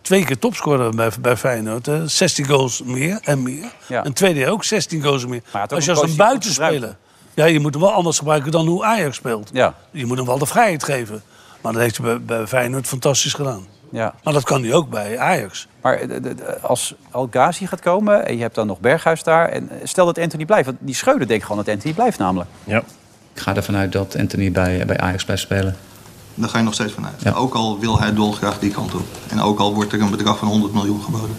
Twee keer topscorer bij, bij Feyenoord. hè. 16 goals meer en meer.
Ja.
En tweede jaar ook 16 goals meer.
hij had ook
Als je
een
als een
coach die goed
buitenspeler...
gebruikt.
Ja, je moet hem wel anders gebruiken dan hoe Ajax speelt.
Ja.
Je moet hem wel de vrijheid geven. Maar dat heeft hij bij, bij Feyenoord fantastisch gedaan.
ja.
Maar dat kan hij ook bij Ajax.
Maar eh, de- de- als Al Ghazi gaat komen en je hebt dan nog Berghuis daar... en eh, stel dat Anthony blijft, want die Schreuder denkt gewoon dat Anthony blijft namelijk.
ja.
Ik ga ervan uit dat Anthony bij, bij Ajax blijft spelen.
Daar ga je nog steeds van uit.
Ja.
Ook al wil hij dolgraag die kant op. En ook al wordt er een bedrag van 100 miljoen geboden.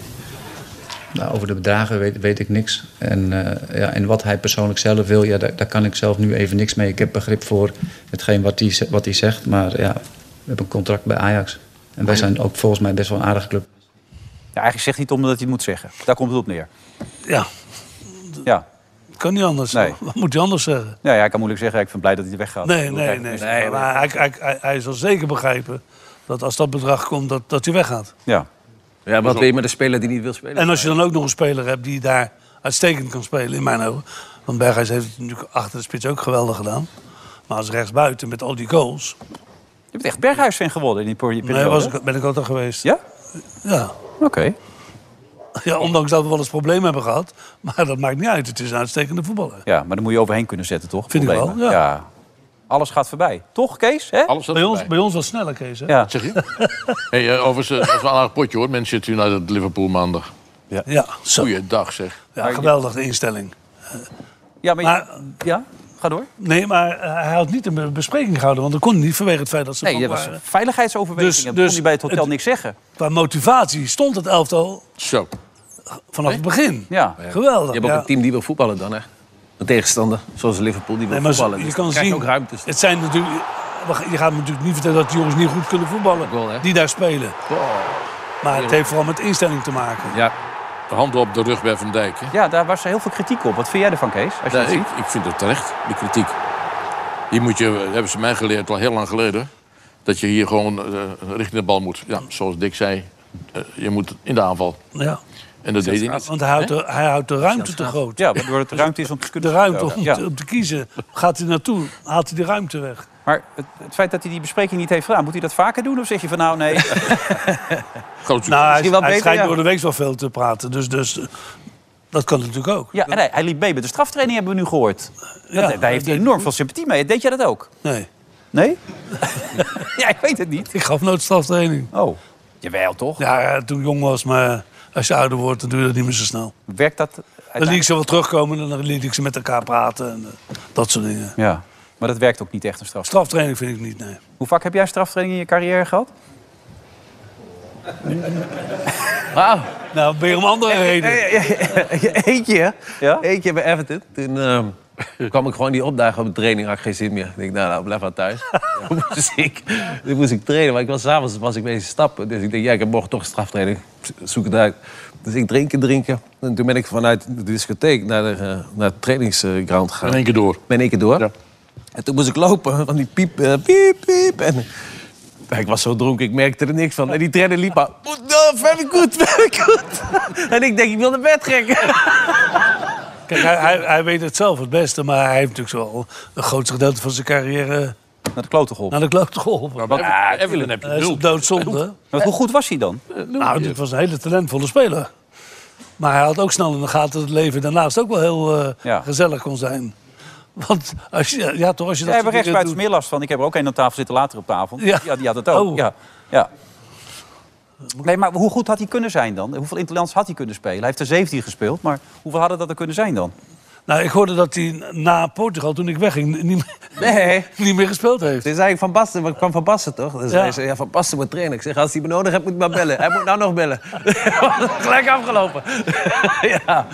Nou, over de bedragen weet, weet ik niks. En, eh, ja, en wat hij persoonlijk zelf wil, ja, daar, daar kan ik zelf nu even niks mee. Ik heb begrip voor hetgeen wat hij, ze- wat hij zegt. Maar ja, we hebben een contract bij Ajax. En wij zijn ook volgens mij best wel een aardige club.
Ja, eigenlijk zegt hij het omdat hij het moet zeggen. Daar komt het op neer.
Ja,
Ja.
dat kan niet anders.
Nee.
(laughs) Wat moet hij anders zeggen?
Nou ja, ik kan moeilijk zeggen, ik ben blij dat hij weggaat. Ik
Nee,
bedoel,
nee,
kijk,
nee.
dus-
maar hij, hij, hij, hij zal zeker begrijpen dat als dat bedrag komt, dat, dat hij weggaat.
Ja.
ja, wat wil je met een speler die niet wil spelen?
En als je dan ook nog een speler hebt die daar uitstekend kan spelen, in mijn ogen. Want Berghuis heeft het natuurlijk achter de spits ook geweldig gedaan. Maar als rechtsbuiten met al die goals.
Je bent echt Berghuis-fan geworden in die peri- periode.
Nee, was ik, ben ik altijd geweest.
Ja?
Ja. (laughs)
Oké.
ja, ondanks dat we wel eens problemen hebben gehad. Maar dat maakt niet uit. Het is een uitstekende voetballer.
Ja, maar dan moet je overheen kunnen zetten, toch?
Vind ik wel,
Problemen.
ja.
Alles gaat voorbij. Toch, Kees? Hè?
Alles staat
Bij ons,
erbij.
bij ons was sneller, Kees. Hè?
Ja.
Zeg
(laughs)
je? hey, eh, overigens, eh, dat is wel een aardig potje hoor. Manchester United, Liverpool maandag.
Ja, zo.
Goeiedag zeg.
Ja, geweldige instelling.
Ja, maar, je-
Maar-
ja, ga door.
Nee, maar eh, hij had niet een be- bespreking gehouden. Want dat kon hij niet vanwege het feit dat ze
Nee,
bang
dat was
waren.
veiligheidsoverwegingen.
Dus-
Dus,
dus
kon hij bij het hotel
het-
niks zeggen.
Qua motivatie stond het elftal
Zo.
vanaf het begin.
Ja.
Geweldig.
Je hebt ook
Oh ja.
een team die wil voetballen dan, hè? Een tegenstander, zoals Liverpool, die wil
Nee, maar ze-
voetballen.
je
Dus
kan
dan krijg
zien,
je ook ruimtes.
het zijn natuurlijk, je gaat me natuurlijk niet vertellen dat die jongens niet goed kunnen voetballen.
Wel, hè?
die daar spelen. Maar het heeft vooral met instelling te maken.
Ja,
De handen op de rug bij Van Dijk. Hè?
Ja, daar was er heel veel kritiek op. Wat vind jij ervan, Kees? Als je
Nee,
dat ziet?
ik, ik vind het terecht, die kritiek. Hier moet je, eh, hebben ze mij geleerd al heel lang geleden, dat je hier gewoon eh, richting de bal moet. Ja, zoals Dick zei, eh, je moet in de aanval.
Ja.
En dat deed hij niet.
Want hij houdt, de, hij houdt de ruimte te groot.
Ja, waardoor het ruimte is om te kunnen
De ruimte om,
scoren.
te,
Ja.
om te kiezen. Gaat hij naartoe, haalt hij de ruimte weg.
Maar het, het feit dat hij die bespreking niet heeft gedaan, moet hij dat vaker doen? Of zeg je van nou nee,
Groot succes.
Nou, hij,
Misschien wel
hij
beter,
schijnt
ja.
door de week wel veel te praten. Dus, dus eh, dat kan natuurlijk ook.
Ja, en hij, hij liep mee met de straftraining, hebben we nu gehoord.
Ja,
dat, daar heeft hij
dat-
enorm veel sympathie mee. Deed jij dat ook?
Nee,
Nee? (laughs) ja, ik weet het niet.
ik gaf nooit straftraining.
Oh, jawel toch?
Ja, eh, toen ik jong was, maar als je ouder wordt, dan doe je dat niet meer zo snel.
Werkt dat
Dan liet ik
uiteindelijk?
ze wel terugkomen en dan liet ik ze met elkaar praten en eh, dat soort dingen.
Ja, maar dat werkt ook niet echt een straf.
Straftraining vind ik niet, nee.
Hoe vaak heb jij straftraining in je carrière gehad?
Nou, ben je om andere reden.
Eentje, hè?
Ja?
Eentje bij Everton. Toen ehm, kwam ik gewoon die opdagen op de training. Had ik geen zin meer. Ik denk, nou, nou blijf maar
(laughs)
thuis. Toen, moest ik, toen moest ik trainen. Maar ik was s'avonds was ik bezig stappen. Dus ik denk, ja, ik heb morgen toch een straftraining. Zoek het uit. Dus ik drinken, drinken. En toen ben ik vanuit de discotheek naar de, eh, naar het trainingsground gegaan.
In één keer door.
Ben ik er door.
Ja.
En toen moest ik lopen van die piep, eh, piep, piep. En ja, ik was zo dronken, ik merkte er niks van. En die trainer liep maar... "Moet door, Very goed, very goed. (laughs) En ik denk, ik wil naar bed trekken.
Kijk, hij, hij, hij weet het zelf het beste, maar hij heeft natuurlijk wel een groot gedeelte van zijn carrière
Naar de klote geholpen.
naar de kloot geholpen.
Wat? Evelyn heb je
Dat is
nul.
op doodzonde.
Maar hoe goed was hij dan?
Nou, dit was een hele talentvolle speler. Maar hij had ook snel in de gaten dat het leven daarnaast ook wel heel eh,
Ja.
gezellig kon zijn. Want als je, ja, toch, als je
Jij
dat
hebt er
soort dingen
rechtsbuiten
doet-
meer last van. Ik heb er ook een aan tafel zitten later op tafel. Ja,
Ja.
die had het ook.
Oh.
Ja. Ja. Nee, maar hoe goed had hij kunnen zijn dan? Hoeveel interlands had hij kunnen spelen? Hij heeft er 17 gespeeld, maar hoeveel hadden dat er kunnen zijn dan?
Nou, ik hoorde dat hij na Portugal, toen ik wegging, niet meer,
Nee.
niet meer gespeeld heeft.
Toen zei ik van Basten, want ik kwam van Basten toch? Dus
Ja.
hij zei, ja, van Basten moet trainen. Ik zeg, als hij me nodig hebt, moet hij maar bellen. Hij moet nou nog bellen. (laughs) Gelijk afgelopen. (laughs) ja.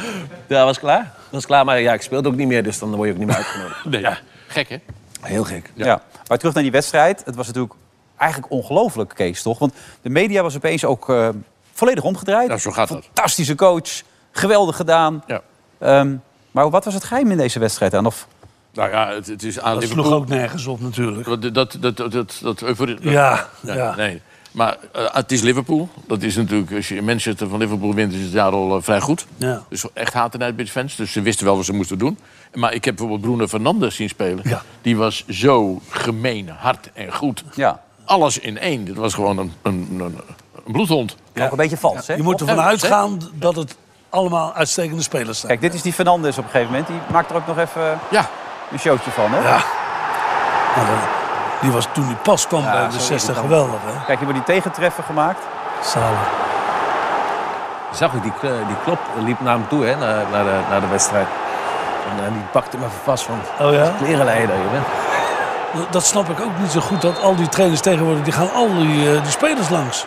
ja, was klaar. Was klaar, maar ja, ik speelde ook niet meer, dus dan word je ook niet meer uitgenodigd. (laughs)
Nee, ja. Gek, hè?
Heel gek.
Ja. Maar terug naar die wedstrijd. Het was natuurlijk eigenlijk ongelooflijk, Kees, toch? Want de media was opeens ook eh, volledig omgedraaid.
Nou, zo gaat dat.
Fantastische coach. Geweldig gedaan.
Ja.
Ehm, maar wat was het geheim in deze wedstrijd dan? Of
Nou ja, het, het is aan
Dat
Liverpool.
sloeg ook nergens op natuurlijk.
Dat, dat, dat, dat, dat, dat euforie-
Ja,
Ja,
ja.
Nee. Maar eh, het is Liverpool. Dat is natuurlijk, als je in Manchester van Liverpool wint, is het daar al eh, vrij goed.
Ja.
Dus echt haat en uit bij de fans. Dus ze wisten wel wat ze moesten doen. Maar ik heb bijvoorbeeld Bruno Fernandes zien spelen.
Ja.
Die was zo gemeen, hard en goed.
Ja.
Alles in één. Dat was gewoon een, een, een, een bloedhond.
nog een beetje vals, hè?
Je moet ervan uitgaan dat het allemaal uitstekende spelers zijn.
Kijk, dit is die Fernandes op een gegeven moment. Die maakt er ook nog even
Ja,
een showtje van, hè?
Ja. Nou, dat- die was toen die pas kwam bij de
zo
60 geweldig, hè?
Kijk, je wordt die tegentreffer gemaakt.
Zalig.
Zag ik, die, eh, die klop liep naar hem toe, hè, naar, naar, de, naar de wedstrijd. En eh, die pakte me even vast van
Oh ja?
klerenleider, jongen.
Dat- Dat snap ik ook niet zo goed, dat al die trainers tegenwoordig... die gaan al die, eh, die spelers langs.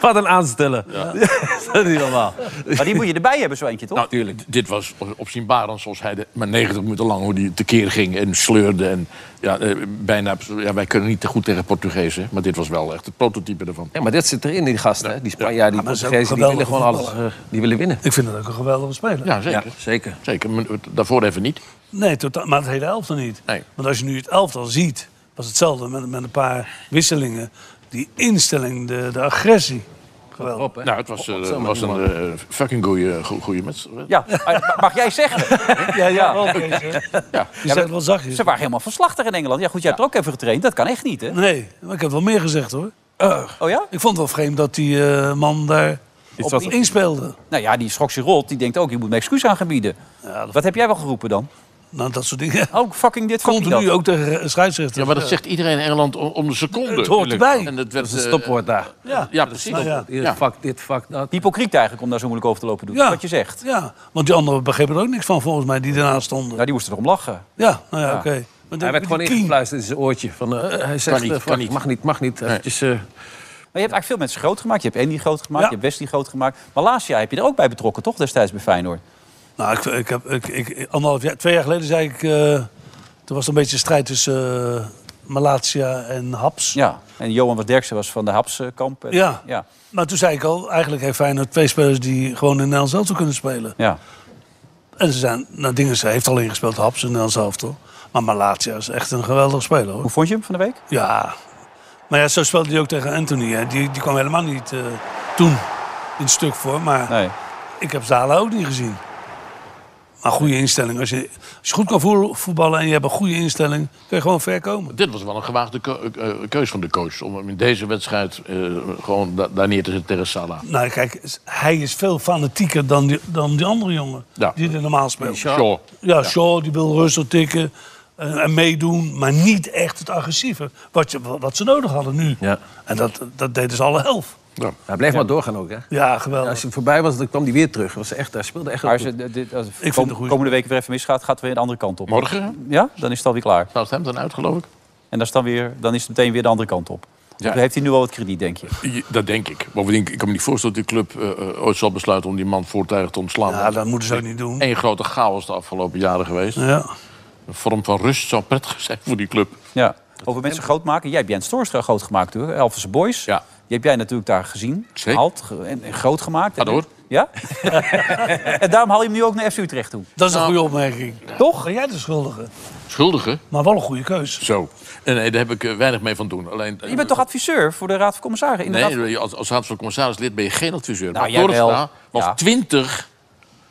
Wat een aanstellen. dat is niet normaal.
Maar die moet je erbij hebben, zo eentje,
Nou.
toch?
natuurlijk. dit was opzienbarend zoals hij de, maar 90 minuten lang hoe hij tekeer ging en sleurde. En, ja, eh, bijna, ja, wij kunnen niet te goed tegen Portugezen, maar dit was wel echt het prototype ervan.
Ja, maar dit zit erin, die gasten. hè. Die Spanjaarden, die
maar dat is ook
Portugezen, die willen
geweldig
gewoon alles. eh, die willen winnen.
Ik vind dat ook een geweldige speler.
Ja, zeker.
zeker.
Zeker, maar daarvoor even niet.
Nee, totaal, maar het hele elftal niet.
Nee.
Want als je nu het elftal ziet, was hetzelfde met, met een paar wisselingen. Die instelling, de, de agressie. Geweldig.
Nou, het was, eh, was een eh, fucking goede wedstrijd.
Ja, maar mag jij zeggen.
Ja, ja. wel, Kees, hè? Je zegt wel zachtjes.
Ze waren helemaal verslachtig in Engeland. Ja, goed, jij hebt er ook even getraind. Dat kan echt niet, hè?
Nee, maar ik heb wel meer gezegd hoor.
Oh ja?
Ik vond het wel vreemd dat die eh, man daar op
was-
inspeelde.
Nou ja, die schrok zich rot. Die denkt ook, je moet me excuus aangebieden. Wat heb jij wel geroepen dan?
Nou, dat soort dingen.
Oh, fucking dit, fucking
(laughs) Continu
dat.
ook tegen scheidsrechter.
Ja, maar dat zegt iedereen in Engeland om, om de seconde.
Het hoort
natuurlijk.
erbij.
En dat
Dat
werd
is een
eh,
stopwoord daar.
Ja,
Ja, precies.
Nou, ja.
Hier,
Ja.
Fuck dit, fuck dat.
Hypocriet eigenlijk om daar zo moeilijk over te lopen doen.
Ja.
Wat je zegt.
Ja, want die anderen begrepen er ook niks van volgens mij, die daarnaast stonden.
Nou, die moesten erom lachen.
Ja, nou ja, oké. Maar
Hij
dan-
werd
die
gewoon
King.
ingefluisterd in zijn oortje. Van, eh, hij zegt,
niet,
eh,
kan
fuck,
niet.
mag niet, mag niet. Eventjes, eh,
Maar je hebt eigenlijk veel mensen groot gemaakt. Je hebt Andy groot gemaakt,
Ja.
je hebt Wesley groot gemaakt. Maar laatst jaar heb je er ook bij betrokken, toch? Destijds bij Feyenoord.
Nou, ik, ik heb, ik, ik, anderhalf jaar, twee jaar geleden zei ik... eh er was een beetje strijd tussen eh, Malatia en Haps.
Ja. En Johan was Derksen was van de Hapskamp. En-
Ja.
Ja.
Maar toen zei ik al, eigenlijk heeft Feyenoord twee spelers... die gewoon in Nederland zelf toe kunnen spelen.
Ja.
En ze zijn, nou, Dinges heeft al ingespeeld, Haps in Nederland zelf toch. Maar Malatia is echt een geweldige speler, hoor.
Hoe vond je hem van de week?
Ja, Maar ja, zo speelde hij ook tegen Anthony. Hè. Die, die kwam helemaal niet eh, toen in stuk voor. Maar
Nee.
ik heb Zala ook niet gezien. Maar goede instelling. Als je, als je goed kan voer- voetballen en je hebt een goede instelling... kun je gewoon ver komen.
Dit was wel een gewaagde keu- eh, keus van de coach. Om hem in deze wedstrijd eh, gewoon da- daar neer te zetten tegen Salah.
Nou, kijk, hij is veel fanatieker dan die, dan die andere jongen
Ja.
die er normaal speelt.
Shaw. Shaw.
Ja, Shaw die wil rustig tikken eh, en meedoen, maar niet echt het agressieve wat, je, wat ze nodig hadden nu.
Ja.
En dat, dat deden ze alle elf.
Hij bleef maar doorgaan ook, hè?
Ja,
Als
geweldig.
hij voorbij was, dan kwam hij weer terug. Was echt, hij speelde echt
Maar
heel
als,
goed.
je- dit, als
het
kom-
een goeie.
komende week weer even misgaat, gaat het weer de andere kant op.
Morgen
Ja, dan is het alweer klaar.
Southampton uit, geloof ik.
En dan is, dan weer, dan is het meteen weer de andere kant op.
Ja.
Dan heeft hij nu al wat krediet, denk je.
Je- Dat denk ik. Bovendien, ik kan me niet voorstellen dat die club eh, eh, ooit zal besluiten om die man voortijdig te ontslaan.
Ja, dat moeten ze ook niet doen.
Eén grote chaos de afgelopen jaren geweest.
Ja.
Een vorm van rust zou prettig zijn voor die club.
Ja. Over mensen groot maken. Jij hebt Jens Toornstra groot gemaakt, hoor. Elvense Boys.
Ja.
Die heb jij natuurlijk daar gezien,
Zeker.
gehaald ge- en, en groot gemaakt.
Ga door.
Ja? (laughs) en daarom haal je hem nu ook naar FC Utrecht toe.
Dat is een goede opmerking.
Toch?
Ben jij de schuldige?
Schuldigen?
Maar wel een goede keus.
Zo. Nee, nee, daar heb ik eh, weinig mee van doen. Alleen, eh,
Je bent toch adviseur voor de Raad van Commissarissen? Inderdaad.
Nee, als, als raad van commissarislid ben je geen adviseur.
Nou,
maar
jij wel.
Toornstra was
Ja.
20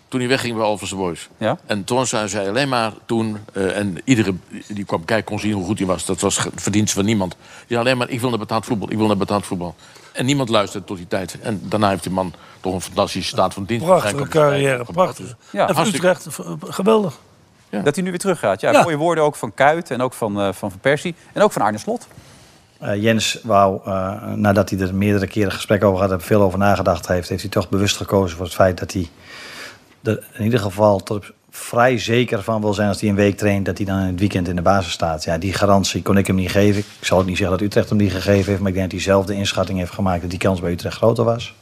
toen hij wegging bij Alphonse Boys.
Ja.
En Toornstra zei alleen maar toen... eh, en iedere die kwam kijken kon zien hoe goed hij was. Dat was ge- verdienst van niemand. Die zei alleen maar, ik wil naar betaald voetbal, ik wil naar betaald voetbal. En niemand luisterde tot die tijd. En daarna heeft die man toch een fantastische staat van dienst.
Prachtige
Hij kwam-
carrière, prachtig.
Ja,
en voor
hartstikke-
Utrecht, v- geweldig.
Dat hij nu weer teruggaat. Ja,
Ja.
mooie woorden ook van Kuit en ook van, eh, van Van Persie. En ook van Arne Slot.
Eh, Jens wou, eh, nadat hij er meerdere keren gesprek over had... en veel over nagedacht heeft... heeft hij toch bewust gekozen voor het feit dat hij... er in ieder geval tot op- vrij zeker van wil zijn... als hij een week traint, dat hij dan in het weekend in de basis staat. Ja, die garantie kon ik hem niet geven. Ik zal ook niet zeggen dat Utrecht hem die gegeven heeft... maar ik denk dat hij zelf de inschatting heeft gemaakt... dat die kans bij Utrecht groter was.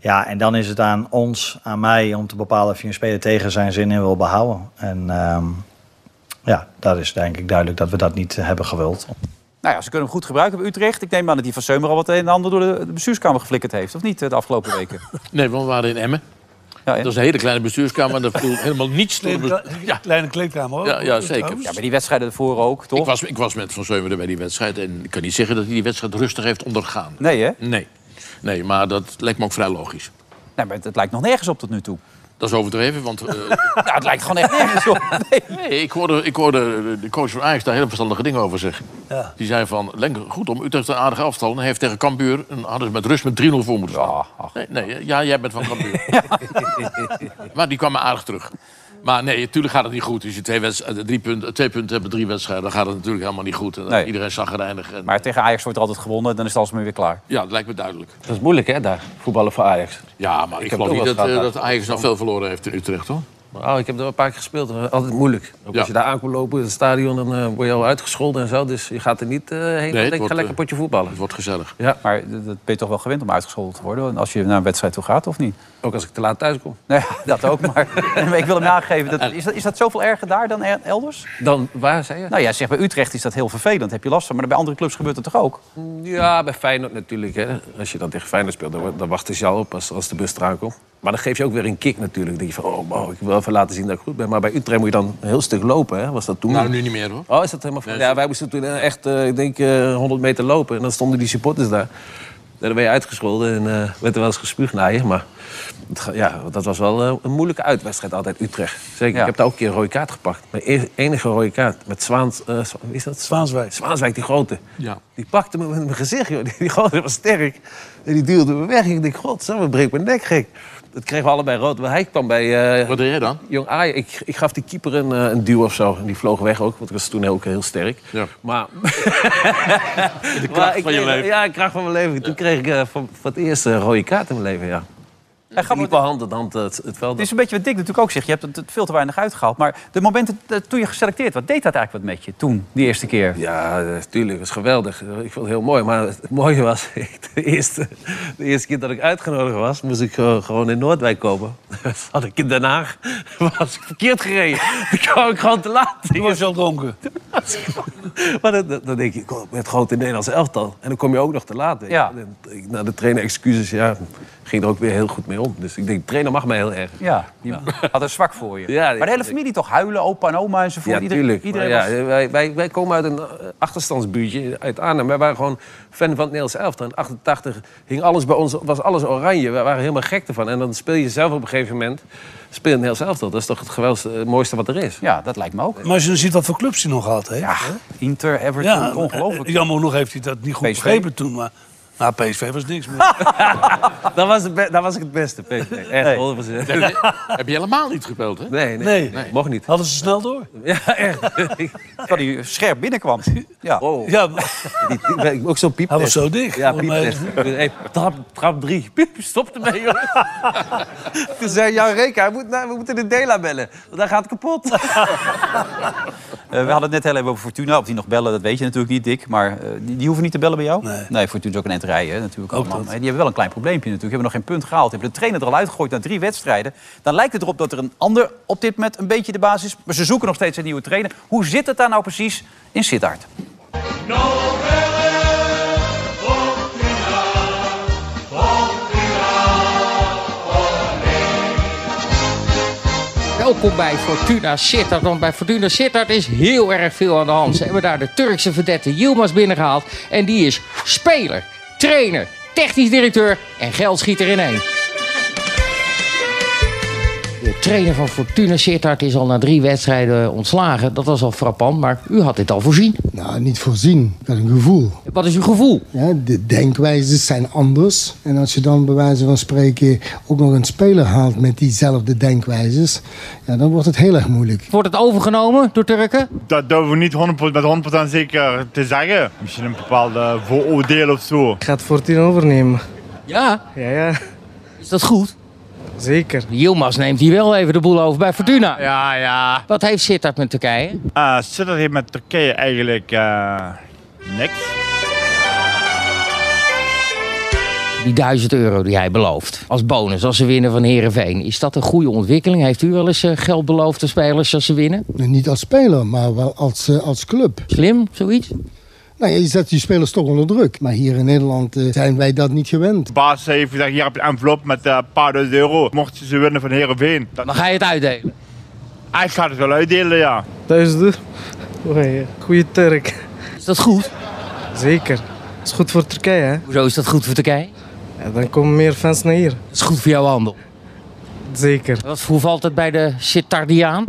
Ja, en dan is het aan ons, aan mij... om te bepalen of je een speler tegen zijn zin in wil behouden. En... ehm, ja, daar is denk ik duidelijk dat we dat niet eh, hebben gewild.
Nou ja, ze kunnen hem goed gebruiken bij Utrecht. Ik neem aan dat die van Seumer al wat een en ander door de, de bestuurskamer geflikkerd heeft. Of niet, eh, de afgelopen (laughs) weken?
Nee, want we waren in Emmen.
Ja, en-
Dat is een hele kleine bestuurskamer. En dat
(laughs)
viel helemaal niets door de
Kleine,
bestuur-
kle- kleine kleedkamer hoor.
Ja, ja, zeker.
ja, maar die wedstrijden ervoor ook, toch?
Ik was, ik was met Van Zeumeren bij die wedstrijd. En ik kan niet zeggen dat hij die wedstrijd rustig heeft ondergaan.
Nee, hè?
Nee. Nee, maar dat lijkt me ook vrij logisch.
Nee, maar het, het lijkt nog nergens op tot nu toe.
Dat is overdreven, want... eh,
(laughs)
(laughs)
Nou, het lijkt gewoon echt nergens op. (laughs) Nee.
nee, ik hoorde, ik hoorde de coach van Ajax daar hele verstandige dingen over zeggen.
Ja.
Die zei van, Lenk, goed om Utrecht een aardige afstand. En hij heeft tegen Cambuur, en hadden ze met rust met 3-0 voor moeten staan.
Ja, ach.
nee, nee, ja, jij bent van Cambuur. (laughs) maar die kwam maar aardig terug. Maar nee, natuurlijk gaat het niet goed. Als je twee, wedst- eh, drie punten, twee punten hebt, bij drie wedstrijden, dan gaat het natuurlijk helemaal niet goed. En dan
Nee.
Iedereen zag reinig. En,
Maar tegen Ajax wordt er altijd gewonnen. Dan is het alsmaar weer klaar.
ja, dat lijkt me duidelijk.
Dat is moeilijk, hè, daar. Voetballen voor Ajax.
Ja, maar ik,
heb
geloof
ook
niet
wel
dat, eh,
gehad,
dat Ajax nou veel verloren heeft in Utrecht, hoor.
Oh, ik heb er een paar keer gespeeld. Dat is Altijd moeilijk. Ook
Ja.
Als je daar aan komt lopen in het stadion, dan eh, word je al uitgescholden en zo. Dus je gaat er niet eh, heen.
het
Nee, ik
wordt,
ga lekker
eh,
potje voetballen.
Het wordt gezellig.
Maar d- dat ben je toch wel gewend om uitgescholden te worden? Als je naar een wedstrijd toe gaat, of niet? (laughs)
Ook als ik te laat thuis kom.
Nee, dat ook, maar (laughs) maar ik wil hem nageven. Dat, is, dat, is dat zoveel erger daar dan er- elders?
Dan, waar, zei je?
Nou ja, zeg, bij Utrecht is dat heel vervelend. Heb je last van. Maar bij andere clubs gebeurt dat toch ook?
Ja, bij Feyenoord natuurlijk. Hè. Als je dan tegen Feyenoord speelt, dan, wa- dan wachten ze jou op als, als de bus eraan komt. Maar dan geef je ook weer een kick natuurlijk. Dan denk je van, oh, wow, ik wil even laten zien dat ik goed ben. Maar bij Utrecht moet je dan een heel stuk lopen, hè. Was dat toen?
Nou, nu niet meer, hoor.
Oh, is dat helemaal... ja, wij moesten toen echt, eh, ik denk, eh 100 meter lopen. En dan stonden die supporters daar. En dan ben je uitgescholden en eh, werd er wel eens gespuugd naar je. Maar het ga- ja, dat was wel eh, een moeilijke uitwedstrijd altijd, Utrecht. Zeker,
Ja.
ik heb daar ook een keer een rode kaart gepakt. Mijn e- enige rode kaart. Met Zwaans... eh, Zwa- wie is dat?
Zwaanswijk.
Zwaanswijk, die grote.
Ja.
Die pakte me in mijn gezicht, joh. Die, die gozer was sterk. En die duwde me weg. Ik denk, god, zo breekt mijn nek gek. Dat kregen we allebei rood. Maar hij kwam bij... eh,
Wat deed jij dan?
Jong Ajax, ik, ik gaf die keeper een, eh, een duw of zo. En die vloog weg ook, want ik was toen ook heel sterk.
Ja. (laughs)
Maar... de
kracht van je leven.
Ja, de kracht van mijn leven. Toen kreeg ik eh, voor, voor het eerst een rode kaart in mijn leven, ja.
En
Ik
gaan we-
liep wel hand in hand eh, het, het veld.
Het is een beetje wat Dick natuurlijk ook zegt. Je hebt het- het veel te weinig uitgehaald. Maar de momenten eh, toen je geselecteerd werd, deed dat eigenlijk wat met je toen, die eerste keer?
Ja, natuurlijk. Het was geweldig. Ik vond het heel mooi. Maar het mooie was, (laughs) de eerste, de eerste keer dat ik uitgenodigd was, moest ik eh, gewoon in Noordwijk komen. Had ik in Den Haag, (laughs) was ik verkeerd gereden. (laughs) Dan kwam ik gewoon te laat.
Die was al dronken.
Maar dan, dan- dan denk je, kom, het grote Nederlands elftal. En nou, dan kom je ook nog te laat. weet je.
Ja.
En ik- Na de trainer excuses, ja, ging er ook weer heel goed mee om. Dus ik denk, de trainer mag mij heel erg.
Ja, die had een zwak voor je.
Ja,
maar de hele familie toch huilen, opa en oma enzovoort.
Ja,
Iedereen-
tuurlijk.
Iedereen
Maar
was-
ja, wij, wij, wij komen uit een eh, achterstandsbuurtje uit Arnhem. Wij waren gewoon fan van het Nederlands elftal. In 88 hing alles bij ons, was alles oranje. Wij waren helemaal gek ervan. En dan speel je zelf op een gegeven moment speel je het Nederlands elftal. Dat is toch het geweldigste, eh, mooiste wat er is.
Ja, dat lijkt me ook.
Maar als je dan ziet wat voor clubs hij nog gehad heeft. Ja,
Inter, Everton, ongelooflijk.
eh, Jammer genoeg heeft hij dat niet goed
PSV.
begrepen toen. Maar nou, PSV was niks meer.
eh, Dat was, het be- dat was ik het beste, PSV.
(laughs)
Echt, 100%.
Heb je, heb je helemaal niet gespeeld, hè?
Nee, nee,
Nee.
mocht niet. (laughs)
Hadden ze snel door.
(laughs)
Ja, echt.
Dat hij scherp binnenkwam. Ja.
Oh,
Ja,
die, die- ook zo'n piep. eh,
hij was zo dicht. eh,
Ja,
Volgens mij-
pieptest. Hey, trap, trap drie. Piep, stop ermee,
(laughs)
joh. Toen zei Jan Reka, hij moet naar- we moeten de Dela bellen. Want hij gaat kapot.
Eh, we hadden het net heel even over Fortuna. Of die nog bellen, dat weet je natuurlijk niet, Dick. Maar eh, die, die hoeven niet te bellen bij jou?
Nee.
Fortuna is ook een eind rijden hè, natuurlijk. allemaal.
dat.
Maar Die hebben wel een klein probleempje natuurlijk. Hebben nog geen punt gehaald. Hebben de trainer er al uitgegooid na drie wedstrijden. Dan lijkt het erop dat er een ander op dit moment een beetje de basis is. Maar ze zoeken nog steeds een nieuwe trainer. Hoe zit het daar nou precies in Sittard?
Welkom bij Fortuna Sittard. Want bij Fortuna Sittard is heel erg veel aan de hand. Ze hebben daar de Turkse vedette Yilmaz binnengehaald. En die is speler, trainer, technisch directeur en geldschieter in één. De trainer van Fortuna Sittard is al na drie wedstrijden ontslagen. Dat was al frappant, maar u had dit al voorzien.
Nou, niet voorzien. Dat is een gevoel.
Wat is uw gevoel?
Ja, de denkwijzes zijn anders. En als je dan bij wijze van spreken ook nog een speler haalt met diezelfde denkwijzes, ja, dan wordt het heel erg moeilijk.
Wordt het overgenomen door Turken?
Dat durven we niet 100%, met 100% zeker te zeggen. Misschien een bepaalde vooroordeel of zo.
Ik ga het Fortuna overnemen.
Ja.
Ja, ja.
Is dat goed?
Zeker.
Yilmaz neemt hier wel even de boel over bij Fortuna.
Ja, ja.
Wat heeft Sittard met Turkije?
Ah, Sittard heeft met Turkije eigenlijk eh, niks.
Die 1000 euro die hij belooft als bonus als ze winnen van Herenveen. Is dat een goede ontwikkeling? Heeft u wel eens eh, geld beloofd aan spelers als ze winnen?
Nou, Niet als speler, maar wel als, eh, als club.
Slim, zoiets?
Nou, ja, je zet die spelers toch onder druk. Maar hier in Nederland eh, zijn wij dat niet gewend.
De baas heeft gezegd, hier heb je een envelop met eh, een paar duizend euro. Mocht je ze winnen van Heerenveen. Dat...
Maar ga je het uitdelen?
Ah, ik ga het wel uitdelen, ja.
Duizenden. Oei, goede Turk.
Is dat goed?
Zeker. Dat is goed voor Turkije, hè?
Hoezo is dat goed voor Turkije?
Ja, dan komen meer fans naar hier.
Dat is goed voor jouw handel.
Zeker.
Wat, hoe valt het bij de Sittardiaan?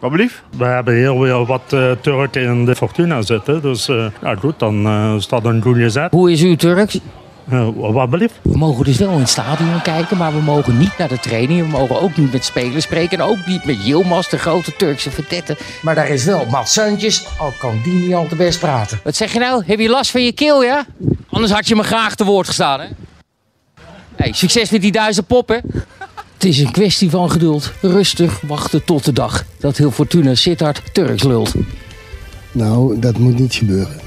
Wat blief?
We hebben heel veel wat eh, Turken in de Fortuna zitten. Dus eh, ja, goed, dan eh, is dat een goede zet.
Hoe is uw Turks?
wat belief?
We mogen dus wel in het stadion kijken, maar we mogen niet naar de training. We mogen ook niet met spelers spreken en ook niet met Yilmaz, de grote Turkse verdette. Maar daar is wel Mats Seuntjes, al kan die niet al te best praten. Wat zeg je nou? Heb je last van je keel, ja? Anders had je me graag te woord gestaan, hè? Hey, succes met die duizend poppen. Het is een kwestie van geduld. Rustig wachten tot de dag dat heel Fortuna Sittard Turks lult.
Nou, dat moet niet gebeuren.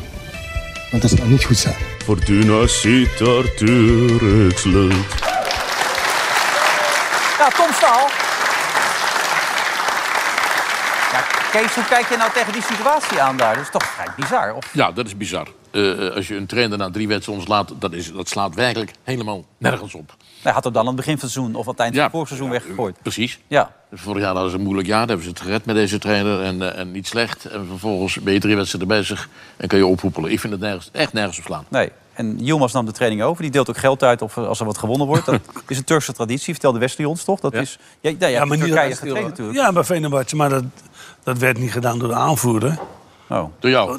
Want dat zou niet goed zijn.
Fortuna Sittard Turks lult.
Ja, Tom Staal. Ja, Kees, hoe kijk je nou tegen die situatie aan daar? Dat is toch vrij bizar. Of
Ja, dat is bizar. Eh, eh, als je een trainer na drie wedstrijden ontslaat, dat, is, dat slaat werkelijk helemaal nergens op.
hij had hem dan aan het begin van het seizoen of aan het eind van het voorseizoen weggegooid.
Precies.
Ja.
Dus vorig jaar hadden ze een moeilijk jaar, daar hebben ze het gered met deze trainer en, eh, en niet slecht. En vervolgens ben je drie wedstrijden bezig en kan je ophoepelen. Ik vind het nergens, echt nergens op slaan.
Nee. En Yilmaz nam de training over. Die deelt ook geld uit of eh, als er wat gewonnen wordt. Dat is een Turkse traditie, vertelde Wesley ons toch? Dat is, ja, nou, ja,
niet
Turkije
dat-
getraind natuurlijk.
Ja, bij Venerbahce. Maar dat, dat werd niet gedaan door de aanvoerder.
Oh.
Door jou.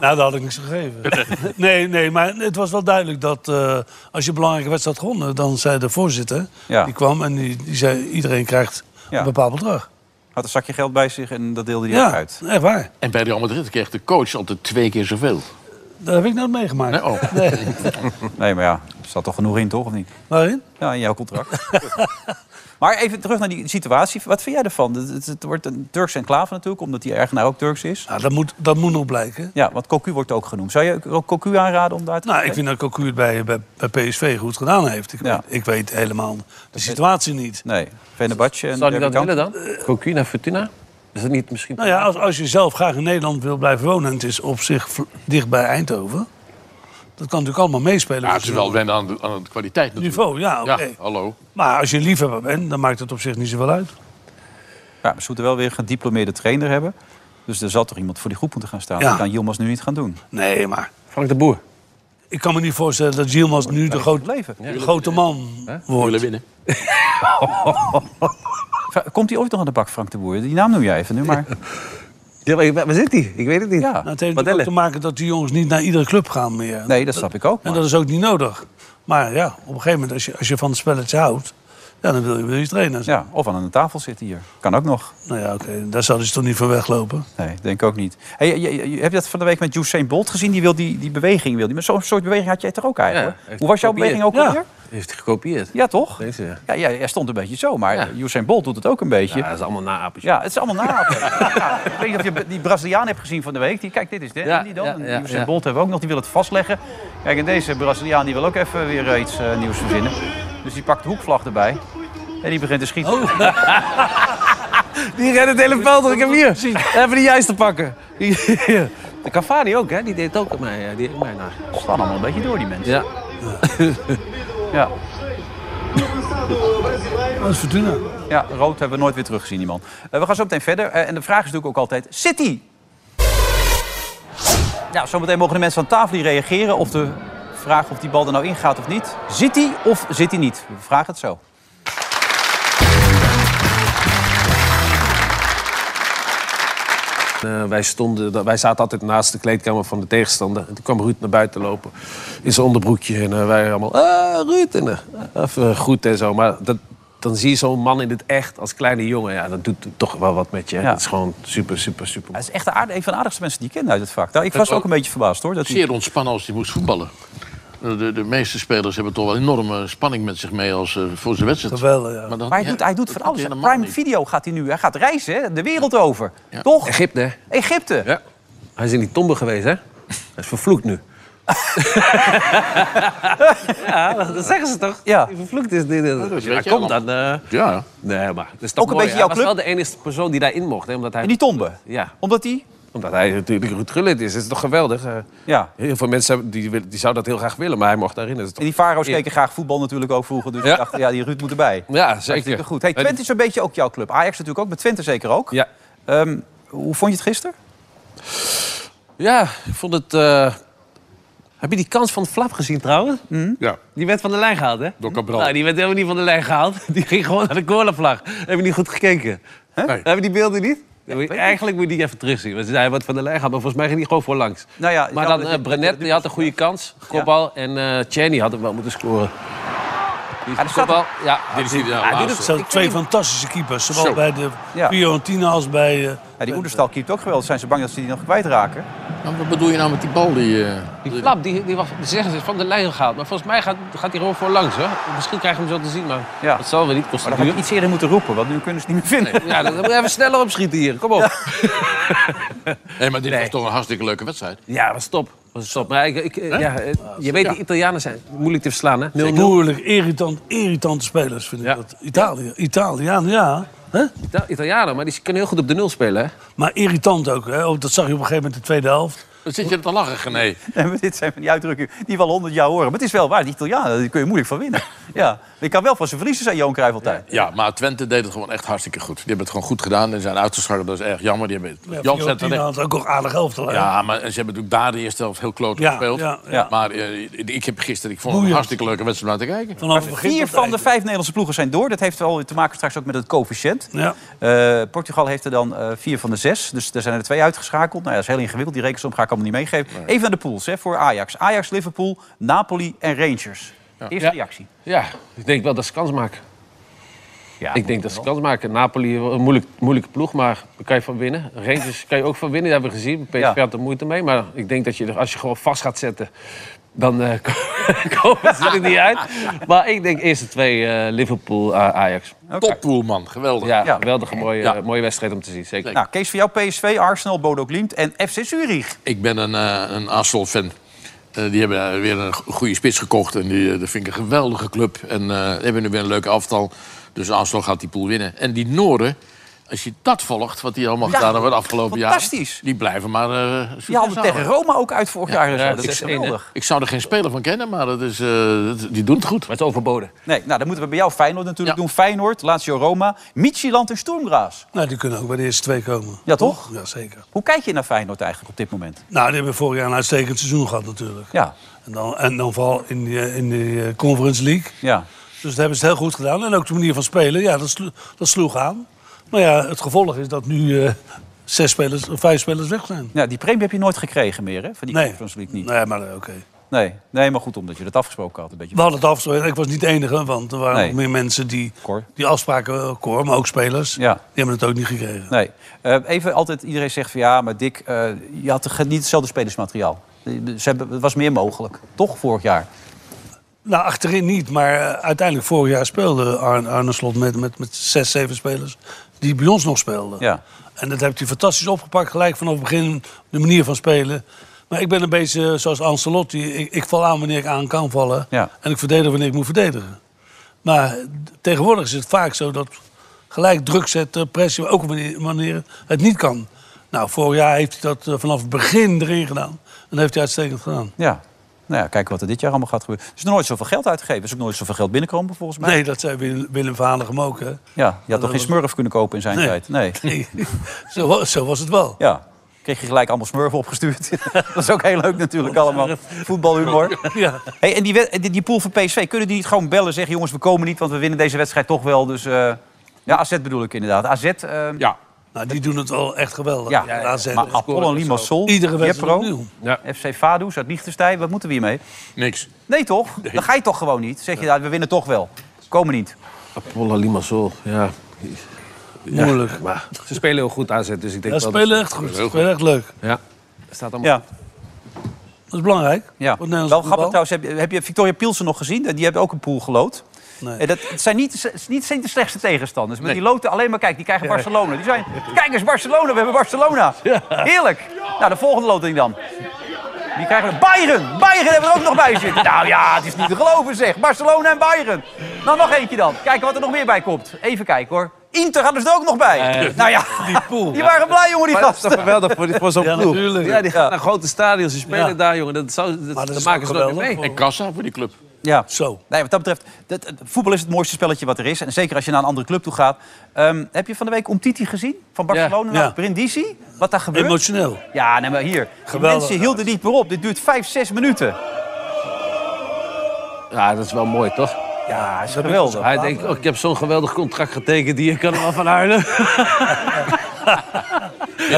Nou, dat had ik niks gegeven.
(laughs)
Nee, nee, maar het was wel duidelijk dat eh, als je een belangrijke wedstrijd had gewonnen... dan zei de voorzitter,
Ja.
die kwam en die, die zei... iedereen krijgt
Ja.
een bepaald bedrag.
Had een zakje geld bij zich en dat deelde hij ook
Ja,
uit.
echt waar.
En bij Real Madrid kreeg de coach altijd twee keer zoveel.
Dat heb ik nooit meegemaakt.
Nee, oh.
Nee, maar ja, er zat toch genoeg in, toch? Of niet?
(laughs) Waarin?
Ja, in jouw contract. Goed. maar even terug naar die situatie. Wat vind jij ervan? Het, het- het wordt een Turkse enclave natuurlijk, omdat die eigenaar ook Turks is.
Nou, dat, moet, dat moet nog blijken.
Ja, want Cocu wordt ook genoemd. Zou je ook Cocu aanraden om daar te
Nou, ik
kijken?
vind dat Cocu het bij, bij, bij PSV goed gedaan heeft. Ik,
Ja.
ik weet helemaal de situatie niet.
Nee, Fenerbahce en
Zou die dat
Derby
willen
County.
dan? Cocu naar Fortuna? Is dat niet misschien...
Nou ja, als, als je zelf graag in Nederland wil blijven wonen... en het is op zich vl- dicht bij Eindhoven... Dat kan natuurlijk allemaal meespelen.
Ja,
voor
het is
zo'n
wel wennen aan de, aan de kwaliteit natuurlijk.
Niveau, ja, oké.
hallo.
Maar als je een liefhebber bent, dan maakt het op zich niet zoveel uit.
Ja, maar ze moeten wel weer een gediplomeerde trainer hebben. Dus er zat toch iemand voor die groep moeten gaan staan.
Ja.
Dat kan Yilmaz nu niet gaan doen.
Nee, maar...
Frank de Boer.
Ik kan me niet voorstellen dat Gilmas nu de, groot- de grote man wordt.
winnen.
Komt hij ooit nog aan de bak, Frank de Boer? Die naam noem jij even nu, maar...
Ja, maar waar zit hij? Ik weet het niet.
Ja.
Nou, het heeft natuurlijk ook te maken dat die jongens niet naar iedere club gaan meer.
Nee, dat snap ik ook.
En dat is ook niet nodig. Maar ja, op een gegeven moment, als je, als je van het spelletje houdt, ja, dan wil je, wil je trainen.
Ja, of aan een tafel zitten hier. Kan ook nog.
Nou ja, oké, daar zouden ze toch niet van weglopen?
Nee, denk ook niet. Hey, je- je- je- heb je dat van de week met Usain Bolt gezien? Die wil die, die beweging. Wil die. Maar zo'n soort beweging had jij toch ook eigenlijk?
Ja, heeft
Hoe was jouw
gekopieerd.
beweging ook
Ja.
alweer?
Heeft hij gekopieerd?
Ja, toch?
Deze,
Ja,
ja.
ja, hij stond een beetje zo, maar Usain Bolt doet het ook een beetje.
Ja, dat is allemaal naapjes.
Ja, het is allemaal naap.
(laughs)
ja, ik weet niet of je die Braziliaan hebt gezien van de week. Die, kijk, dit is dit en die dan.
ja,
En
ja,
Usain
ja.
Bolt hebben we ook nog, die wil het vastleggen. Kijk, en deze Braziliaan die wil ook even weer eh, iets eh, nieuws verzinnen. Dus die pakt de hoekvlag erbij. En die begint te schieten.
Oh.
(laughs)
Die redt het hele veld. Ik heb hier. Even die juiste pakken. De (laughs) Cavani ook, hè? Die deed het ook aan mij. eh, Die heeft mij na.
Ze slaan allemaal een beetje door, die mensen.
Ja.
Ja.
Dat is Fortuna.
Ja, rood hebben we nooit weer teruggezien, die man. Eh, we gaan zo meteen verder. Eh, en de vraag is natuurlijk ook altijd: City! Nou, zometeen mogen de mensen aan tafel hier reageren op de vraag of die bal er nou ingaat of niet. Zit hij of zit hij niet? We vragen het zo.
Eh, wij, stonden, da- wij zaten altijd naast de kleedkamer van de tegenstander. En toen kwam Ruud naar buiten lopen in zijn onderbroekje. En eh, wij allemaal, ah, Ruud! En, eh, even goed en zo. Maar dat, dan zie je zo'n man in het echt als kleine jongen. Ja, dat doet toch wel wat met je. hè.
Ja.
Dat is gewoon super, super, super.
Hij is echt de aard- een van de aardigste mensen die ik ken uit het vak. Nou, ik was ook een beetje verbaasd hoor. Dat hij-
Zeer ontspannen als hij moest voetballen. De, de meeste spelers hebben toch wel enorme spanning met zich mee als, eh, voor zijn wedstrijd.
Geweldig, ja.
dat-
Maar hij doet, hij doet van alles. hè. Prime Video gaat hij nu. Hij gaat reizen, hè, de wereld over. Toch?
Egypte, hè?
Egypte.
Ja. Hij is in die tombe geweest, hè? Hij is vervloekt nu. (laughs) ja, dat zeggen ze toch?
Ja.
Die vervloekt is dit. dit-
weet
Hij
je
komt
allemaal.
dan... eh,
Ja.
Nee, maar dat is toch
Ook een
mooi,
beetje
hè?
jouw club?
Hij was wel de enige persoon die daarin mocht. Hè? Omdat hij...
In die tombe.
Ja,
Omdat hij...
omdat hij natuurlijk Ruud Gullit is. Dat is toch geweldig? Eh,
Ja.
Heel veel mensen hebben- die, willen- die zouden dat heel graag willen, maar hij mocht daarin. Dat is
En
toch...
die Faro's keken graag voetbal natuurlijk ook vroeger. Dus
Ja.
ik dacht, ja, die Ruud moet erbij.
Ja,
Hartstikke
zeker.
goed. Hey, Twente is een beetje ook jouw club. Ajax natuurlijk ook, maar Twente zeker ook.
Ja.
Ehm, hoe vond je het gisteren?
Ja, ik vond het... eh, Heb je die kans van Flap gezien trouwens?
Ja,
Mm. Die werd van de lijn gehaald, hè?
door
Nou, die werd helemaal niet van de lijn gehaald. (laughs) Die ging gewoon naar de cornervlag. Hebben niet goed gekeken? Hè?
Nee.
Hebben die beelden niet? Dan moet je- eigenlijk moet je die even terugzien. Want hij wordt van de lijn gehaald, maar volgens mij ging die gewoon voorlangs.
Nou ja,
Maar
jammer
dan
dat
eh,
je-
Brenet, die had een goede kans. Kopbal. En eh Cheney had hem wel moeten scoren. Die
Ja, er staat-
kopbal. Ja,
Dit is niet de
hij doet
Het
laatste.
het-
zijn
ik
twee
weet niet-
fantastische keepers. Zowel
Zo.
bij de
Ja.
Fiorentina als bij... eh,
Ja, die Oederstal keept ook geweldig. Zijn ze bang dat ze die nog kwijtraken?
Nou, wat bedoel je nou met die bal die... eh,
Die flap, die, die was, die zeggen ze, is van de lijn gehaald. Maar volgens mij gaat, gaat hij gewoon voorlangs, hoor. Misschien krijgen we hem zo te zien, maar
Ja.
dat zal weer niet
Maar
kosten
dan had
duur.
ik iets eerder moeten roepen, want nu kunnen ze het niet meer vinden.
Ja, dan moet je even sneller opschieten hier. Kom op.
Nee, maar dit was toch een hartstikke leuke wedstrijd.
Ja, was top. Was top. Maar ik, ik, eh, ja, eh, je weet, de Italianen zijn moeilijk te verslaan, hè? 0-0.
Moeilijk, irritant, irritante spelers vind ik dat. Italië, Italiaan, ja. Hè?
Ita- Italianen, maar die kunnen heel goed op de nul spelen, hè?
Maar irritant ook, hè? Oh, dat zag je op een gegeven moment in de tweede helft.
Dan zit je te lachen, Gené.
(laughs) Nee, maar dit zijn van die uitdrukkingen die we al honderd jaar horen. Maar het is wel waar, die Italianen, daar kun je moeilijk van
(laughs)
winnen. Ja, ik kan wel van zijn verliezen zijn, Johan Cruijff altijd.
Ja, maar Twente deed het gewoon echt hartstikke goed. Die hebben het gewoon goed gedaan en zijn uitgeschakeld. Dat is erg jammer. Die hebben...
Ja,
Jan zet
Fiorentina
er
had ook nog aardig helft. hè?
Ja, maar ze hebben natuurlijk daar de eerste helft heel kloot
Ja,
gespeeld.
ja, ja.
Maar eh, ik heb gisteren, ik vond het
Boeiend.
een hartstikke leuke wedstrijd om naar te kijken.
Vanaf het begin
Vier
tot
van de
eind.
vijf Nederlandse ploegen zijn door. Dat heeft wel te maken straks ook met het coëfficiënt.
Ja.
Eh, Portugal heeft er dan eh, vier van de zes. Dus er zijn er twee uitgeschakeld. Nou ja, dat is heel ingewikkeld. Die rekensom ga ik allemaal niet meegeven. Even naar de pools hè, voor Ajax. Ajax, Liverpool, Napoli en Rangers. Eerste
Ja.
reactie.
Ja, ik denk wel dat ze kans maken.
Ja,
ik denk dat ze kans maken. Napoli, eh, een moeilijk, moeilijke ploeg, maar daar kan je van winnen. Rangers kan je ook van winnen, dat hebben we gezien. PSV
Ja.
had er moeite mee, maar ik denk dat je, er- als je gewoon vast gaat zetten... dan eh, (laughs) komen ze er niet uit. Maar ik denk eerste twee eh, Liverpool, eh, Ajax.
Toppool, man. Geweldig.
Ja,
Ja.
geweldige mooie,
Ja.
mooie wedstrijd om te zien, zeker.
Nou, Kees, voor jou PSV, Arsenal, Bodo Glimt en FC Zurich.
Ik ben een, eh een Arsenal-fan. Eh, die hebben eh, weer een go- goede spits gekocht. En die, eh, dat vind ik een geweldige club. En eh, hebben nu weer een leuke aftal. Dus Arsenal gaat die pool winnen. En die Noren, Als je dat volgt, wat die allemaal
Ja,
gedaan hebben de afgelopen jaren...
fantastisch.
Die blijven maar... eh succes
Je had het tegen
halen.
Roma ook uit vorig jaar. en zo. dat
ik-
is geweldig.
Ik zou er geen speler van kennen, maar dat is, eh, dat- die doen het goed.
Het is overboden.
Nee, nou, dan moeten we bij jou Feyenoord natuurlijk doen. Feyenoord, Lazio Roma, Michieland en Stormgraas.
Nou, die kunnen ook bij de eerste twee komen.
Ja, toch?
Ja, zeker.
Hoe kijk je naar Feyenoord eigenlijk op dit moment?
Nou, die hebben vorig jaar een uitstekend seizoen gehad natuurlijk.
Ja.
En dan, en dan vooral in de in die, eh, Conference League.
Ja.
Dus dat hebben ze heel goed gedaan. En ook de manier van spelen, ja, dat, slo- dat sloeg aan. Maar ja, het gevolg is dat nu eh, zes spelers, vijf spelers weg zijn.
Nou, die premie heb je nooit gekregen meer, hè? Van die
Nee.
Conference League niet.
Nee, maar eh, oké.
Nee. nee, maar goed, omdat je dat afgesproken had. Een beetje.
We hadden het afgesproken. Ik was niet de enige, want er waren
Nee.
nog meer mensen die die afspraken, eh, Cor, maar ook spelers, die hebben het ook niet gekregen.
Nee. Eh, even altijd, iedereen zegt van ja, maar Dick, eh, je had toch niet hetzelfde spelersmateriaal. Eh, Ze hebben, het was meer mogelijk, toch, vorig jaar?
Nou, achterin niet, maar eh, uiteindelijk vorig jaar speelde Arne, Arne Slot met, met, met zes, zeven spelers die bij ons nog speelden.
Ja.
En dat heeft hij fantastisch opgepakt, gelijk vanaf het begin, de manier van spelen. Maar ik ben een beetje eh, zoals Ancelotti, ik, ik val aan wanneer ik aan kan vallen.
Ja.
En ik verdedig wanneer ik moet verdedigen. Maar d- tegenwoordig is het vaak zo dat gelijk druk zetten, pressie, maar ook wanneer, wanneer het niet kan. Nou, vorig jaar heeft hij dat eh, vanaf het begin erin gedaan. En dat heeft hij uitstekend gedaan.
Ja. Nou ja, kijken wat er dit jaar allemaal gaat gebeuren. Er is nog nooit zoveel geld uitgegeven. Er is ook nooit zoveel geld binnenkomen, volgens mij.
Nee, dat zei Willem, Willem Vanegem ook, hè?
Ja, je had
dat
toch geen
was-
smurf kunnen kopen in zijn
Nee.
tijd? Nee.
Nee, (laughs) zo, wa- zo was het wel.
Ja. Kreeg je gelijk allemaal smurfen opgestuurd. (laughs) dat is ook heel leuk natuurlijk allemaal. Voetbalhumor.
Ja.
Hey, en die, wed- en die, die pool van PSV, kunnen die niet gewoon bellen en zeggen... jongens, we komen niet, want we winnen deze wedstrijd toch wel. Dus, eh, ja, AZ bedoel ik inderdaad. ehm, AZ...
ja.
Nou, die doen het wel echt geweldig.
Ja,
Ja, AZ
maar
en
Apollo
scoren
Limassol,
en zo. Iedere wedstrijd
Jepro,
opnieuw.
FC Vaduz uit Liechtenstein. Wat moeten we hiermee?
Niks.
Nee, toch? Dan ga je toch gewoon niet. Zeg je, nou, we winnen toch wel. Komen niet.
Apollo Limassol, ja. Ja,
Moeilijk.
maar ze spelen heel goed aanzet, dus ik denk wel
Ja, ze
dat-
spelen echt goed. Ze spelen echt leuk.
Ja. Staat allemaal
Ja.
Dat is belangrijk.
Ja, wel grappig trouwens. Heb je, heb je Victoria Pielsen nog gezien? Die hebben ook een pool gelood.
Nee.
En dat het zijn niet, het zijn niet de slechtste tegenstanders. Maar die loten alleen maar, kijk, die krijgen
Ja.
Barcelona. Die zijn, kijk eens, Barcelona, we hebben Barcelona. Heerlijk. Nou, de volgende loting dan. Die krijgen we, Bayern. Bayern hebben we er ook nog bij zitten. Nou ja, het is niet te geloven zeg. Barcelona en Bayern. Nou, nog eentje dan. Kijken wat er nog meer bij komt. Even kijken hoor. Inter hadden ze er ook nog bij. nou ja, (laughs) die,
pool.
waren blij, jongen, die
Maar dat is
gasten.
toch geweldig voor, die- voor zo'n
Ja,
ploeg?
natuurlijk.
Ja, die gaan naar grote stadions, die spelen daar, jongen. Dat, zou, dat,
dat
dat
is
maken
ook
ze nooit meer
geweldig
mee.
voor-
En kassa voor die club.
Ja.
Zo.
Nee, wat dat betreft, dat, het- voetbal is het mooiste spelletje wat er is. En zeker als je naar een andere club toe gaat. Ehm, heb je van de week Omtiti gezien? Van Barcelona
Ja.
naar Brindisi? Wat daar gebeurt?
Emotioneel.
Ja, nee, maar hier. Die
Geweldig.
mensen hielden niet meer op. Dit duurt vijf, zes minuten.
Ja, dat is wel mooi, toch?
Ja, is geweldig.
Hij denkt, oh, ik heb zo'n geweldig contract getekend, hier kan er wel van huilen.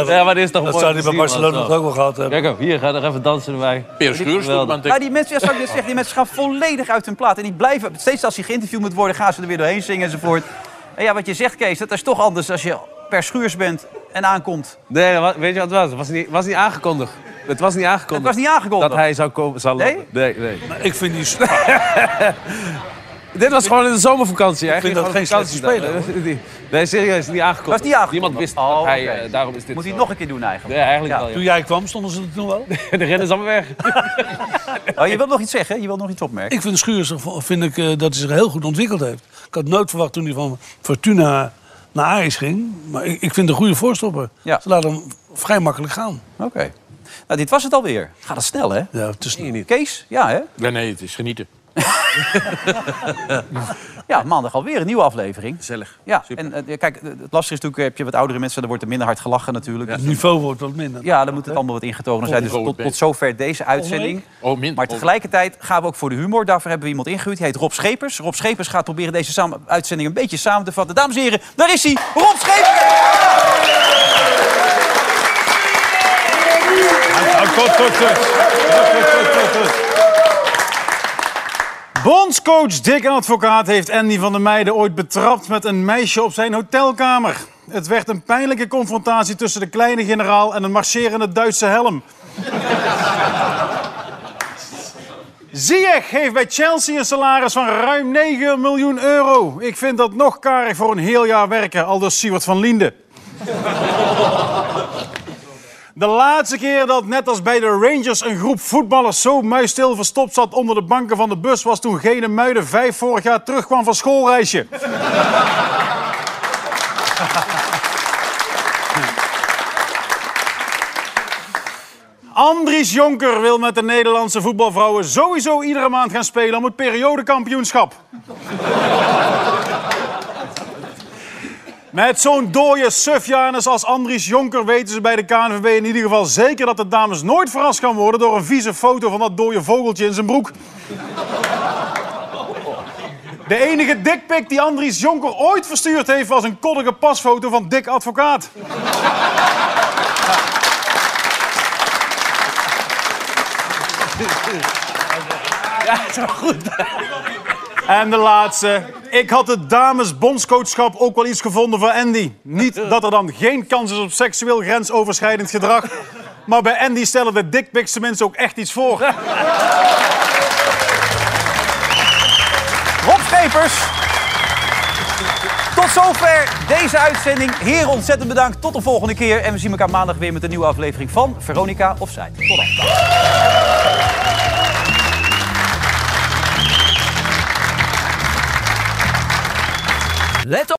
ja, maar dit is toch
Dat
mooi
zou
om te
hij bij
zien, man,
Barcelona
zo.
nog ook wel gehad hebben.
Kijk op, hier, ga er even dansen erbij.
Peer Schuurs doet het,
Geweldig.
want ik-
Maar die mensen, ja, zou ik net zeggen, die mensen gaan volledig uit hun plaat. En die blijven, steeds als je geïnterviewd moet worden, gaan ze er weer doorheen zingen enzovoort. En ja, wat je zegt, Kees, dat is toch anders als je per schuurs bent en aankomt.
Nee, dat wa- weet je wat het was? Het was niet, was niet aangekondigd. Het was niet aangekondigd.
Het was niet aangekondigd.
Dat hij zou komen, zou
Nee?
lopen. Nee, nee.
Ik vind
(laughs)
die...
Dit was gewoon in de zomervakantie.
Ik vind dat geen
(laughs)
slechte
spelen. Nee, serieus, niet aangekondigd.
Was niet aangekondigd?
Niemand wist
Oh,
dat hij,
oké.
eh, daarom is dit
Moet hij
zo.
het nog een keer doen eigenlijk?
Nee, eigenlijk
Ja.
wel,
Toen
ja.
jij kwam, stonden ze er toen wel.
(laughs) De rennen is allemaal weg.
Oh, je wilt nog iets zeggen? Je wilt nog iets opmerken?
Ik vind Schuurs vind ik, eh, dat hij zich heel goed ontwikkeld heeft. Ik had nooit verwacht toen hij van Fortuna naar Ajax ging. Maar ik, ik vind een goede voorstopper.
Ja.
Ze laten hem vrij makkelijk gaan.
Oké. Nou, dit was het alweer. Gaat dat snel, hè?
Ja, het is
Kees? Ja, hè?
Nee, nee, het is genieten.
Ja, maandag alweer een nieuwe aflevering.
Gezellig.
Ja, en eh, kijk, eh, het lastige is natuurlijk, heb je wat oudere mensen, dan wordt er minder hard gelachen natuurlijk.
Het
Dus-
niveau wordt wat minder.
Ja, dan moet het allemaal wat ingetogener zijn. Dus
Volgende
tot,
week.
tot zover deze uitzending.
Oh, min.
Maar
oh,
tegelijkertijd gaan we ook voor de humor. Daarvoor hebben we iemand ingehuurd. Die heet Rob Schepers. Rob Schepers gaat proberen deze samen- uitzending een beetje samen te vatten. Dames en heren, daar is hij, Rob Schepers!
Tot, tot, tot.
Bondscoach Dick en advocaat heeft Andy van der Meijden ooit betrapt met een meisje op zijn hotelkamer. Het werd een pijnlijke confrontatie tussen de kleine generaal en een marcherende Duitse helm. Ziyech heeft bij Chelsea een salaris van ruim 9 miljoen euro. Ik vind dat nog karig voor een heel jaar werken, aldus Siewert van Liende. De laatste keer dat, net als bij de Rangers, een groep voetballers zo muisstil verstopt zat onder de banken van de bus, was toen Gene Muiden vijf vorig jaar terugkwam van schoolreisje.
Andries Jonker wil met de Nederlandse voetbalvrouwen sowieso iedere maand gaan spelen om het periodekampioenschap. Met zo'n dode sufjanus als Andries Jonker weten ze bij de KNVB in ieder geval zeker dat de dames nooit verrast gaan worden door een vieze foto van dat dode vogeltje in zijn broek. De enige dikpik die Andries Jonker ooit verstuurd heeft was een koddige pasfoto van Dick Advocaat. Ja, is wel goed. En de laatste. Ik had het damesbondscoachschap ook wel iets gevonden voor Andy. Niet dat er dan geen kans is op seksueel grensoverschrijdend gedrag. Maar bij Andy stellen de dickpics tenminste ook echt iets voor.
Rob Schepers. Tot zover deze uitzending. Heren, ontzettend bedankt. Tot de volgende keer. En we zien elkaar maandag weer met een nieuwe aflevering van Veronica of Zij. Tot dan.
Let op.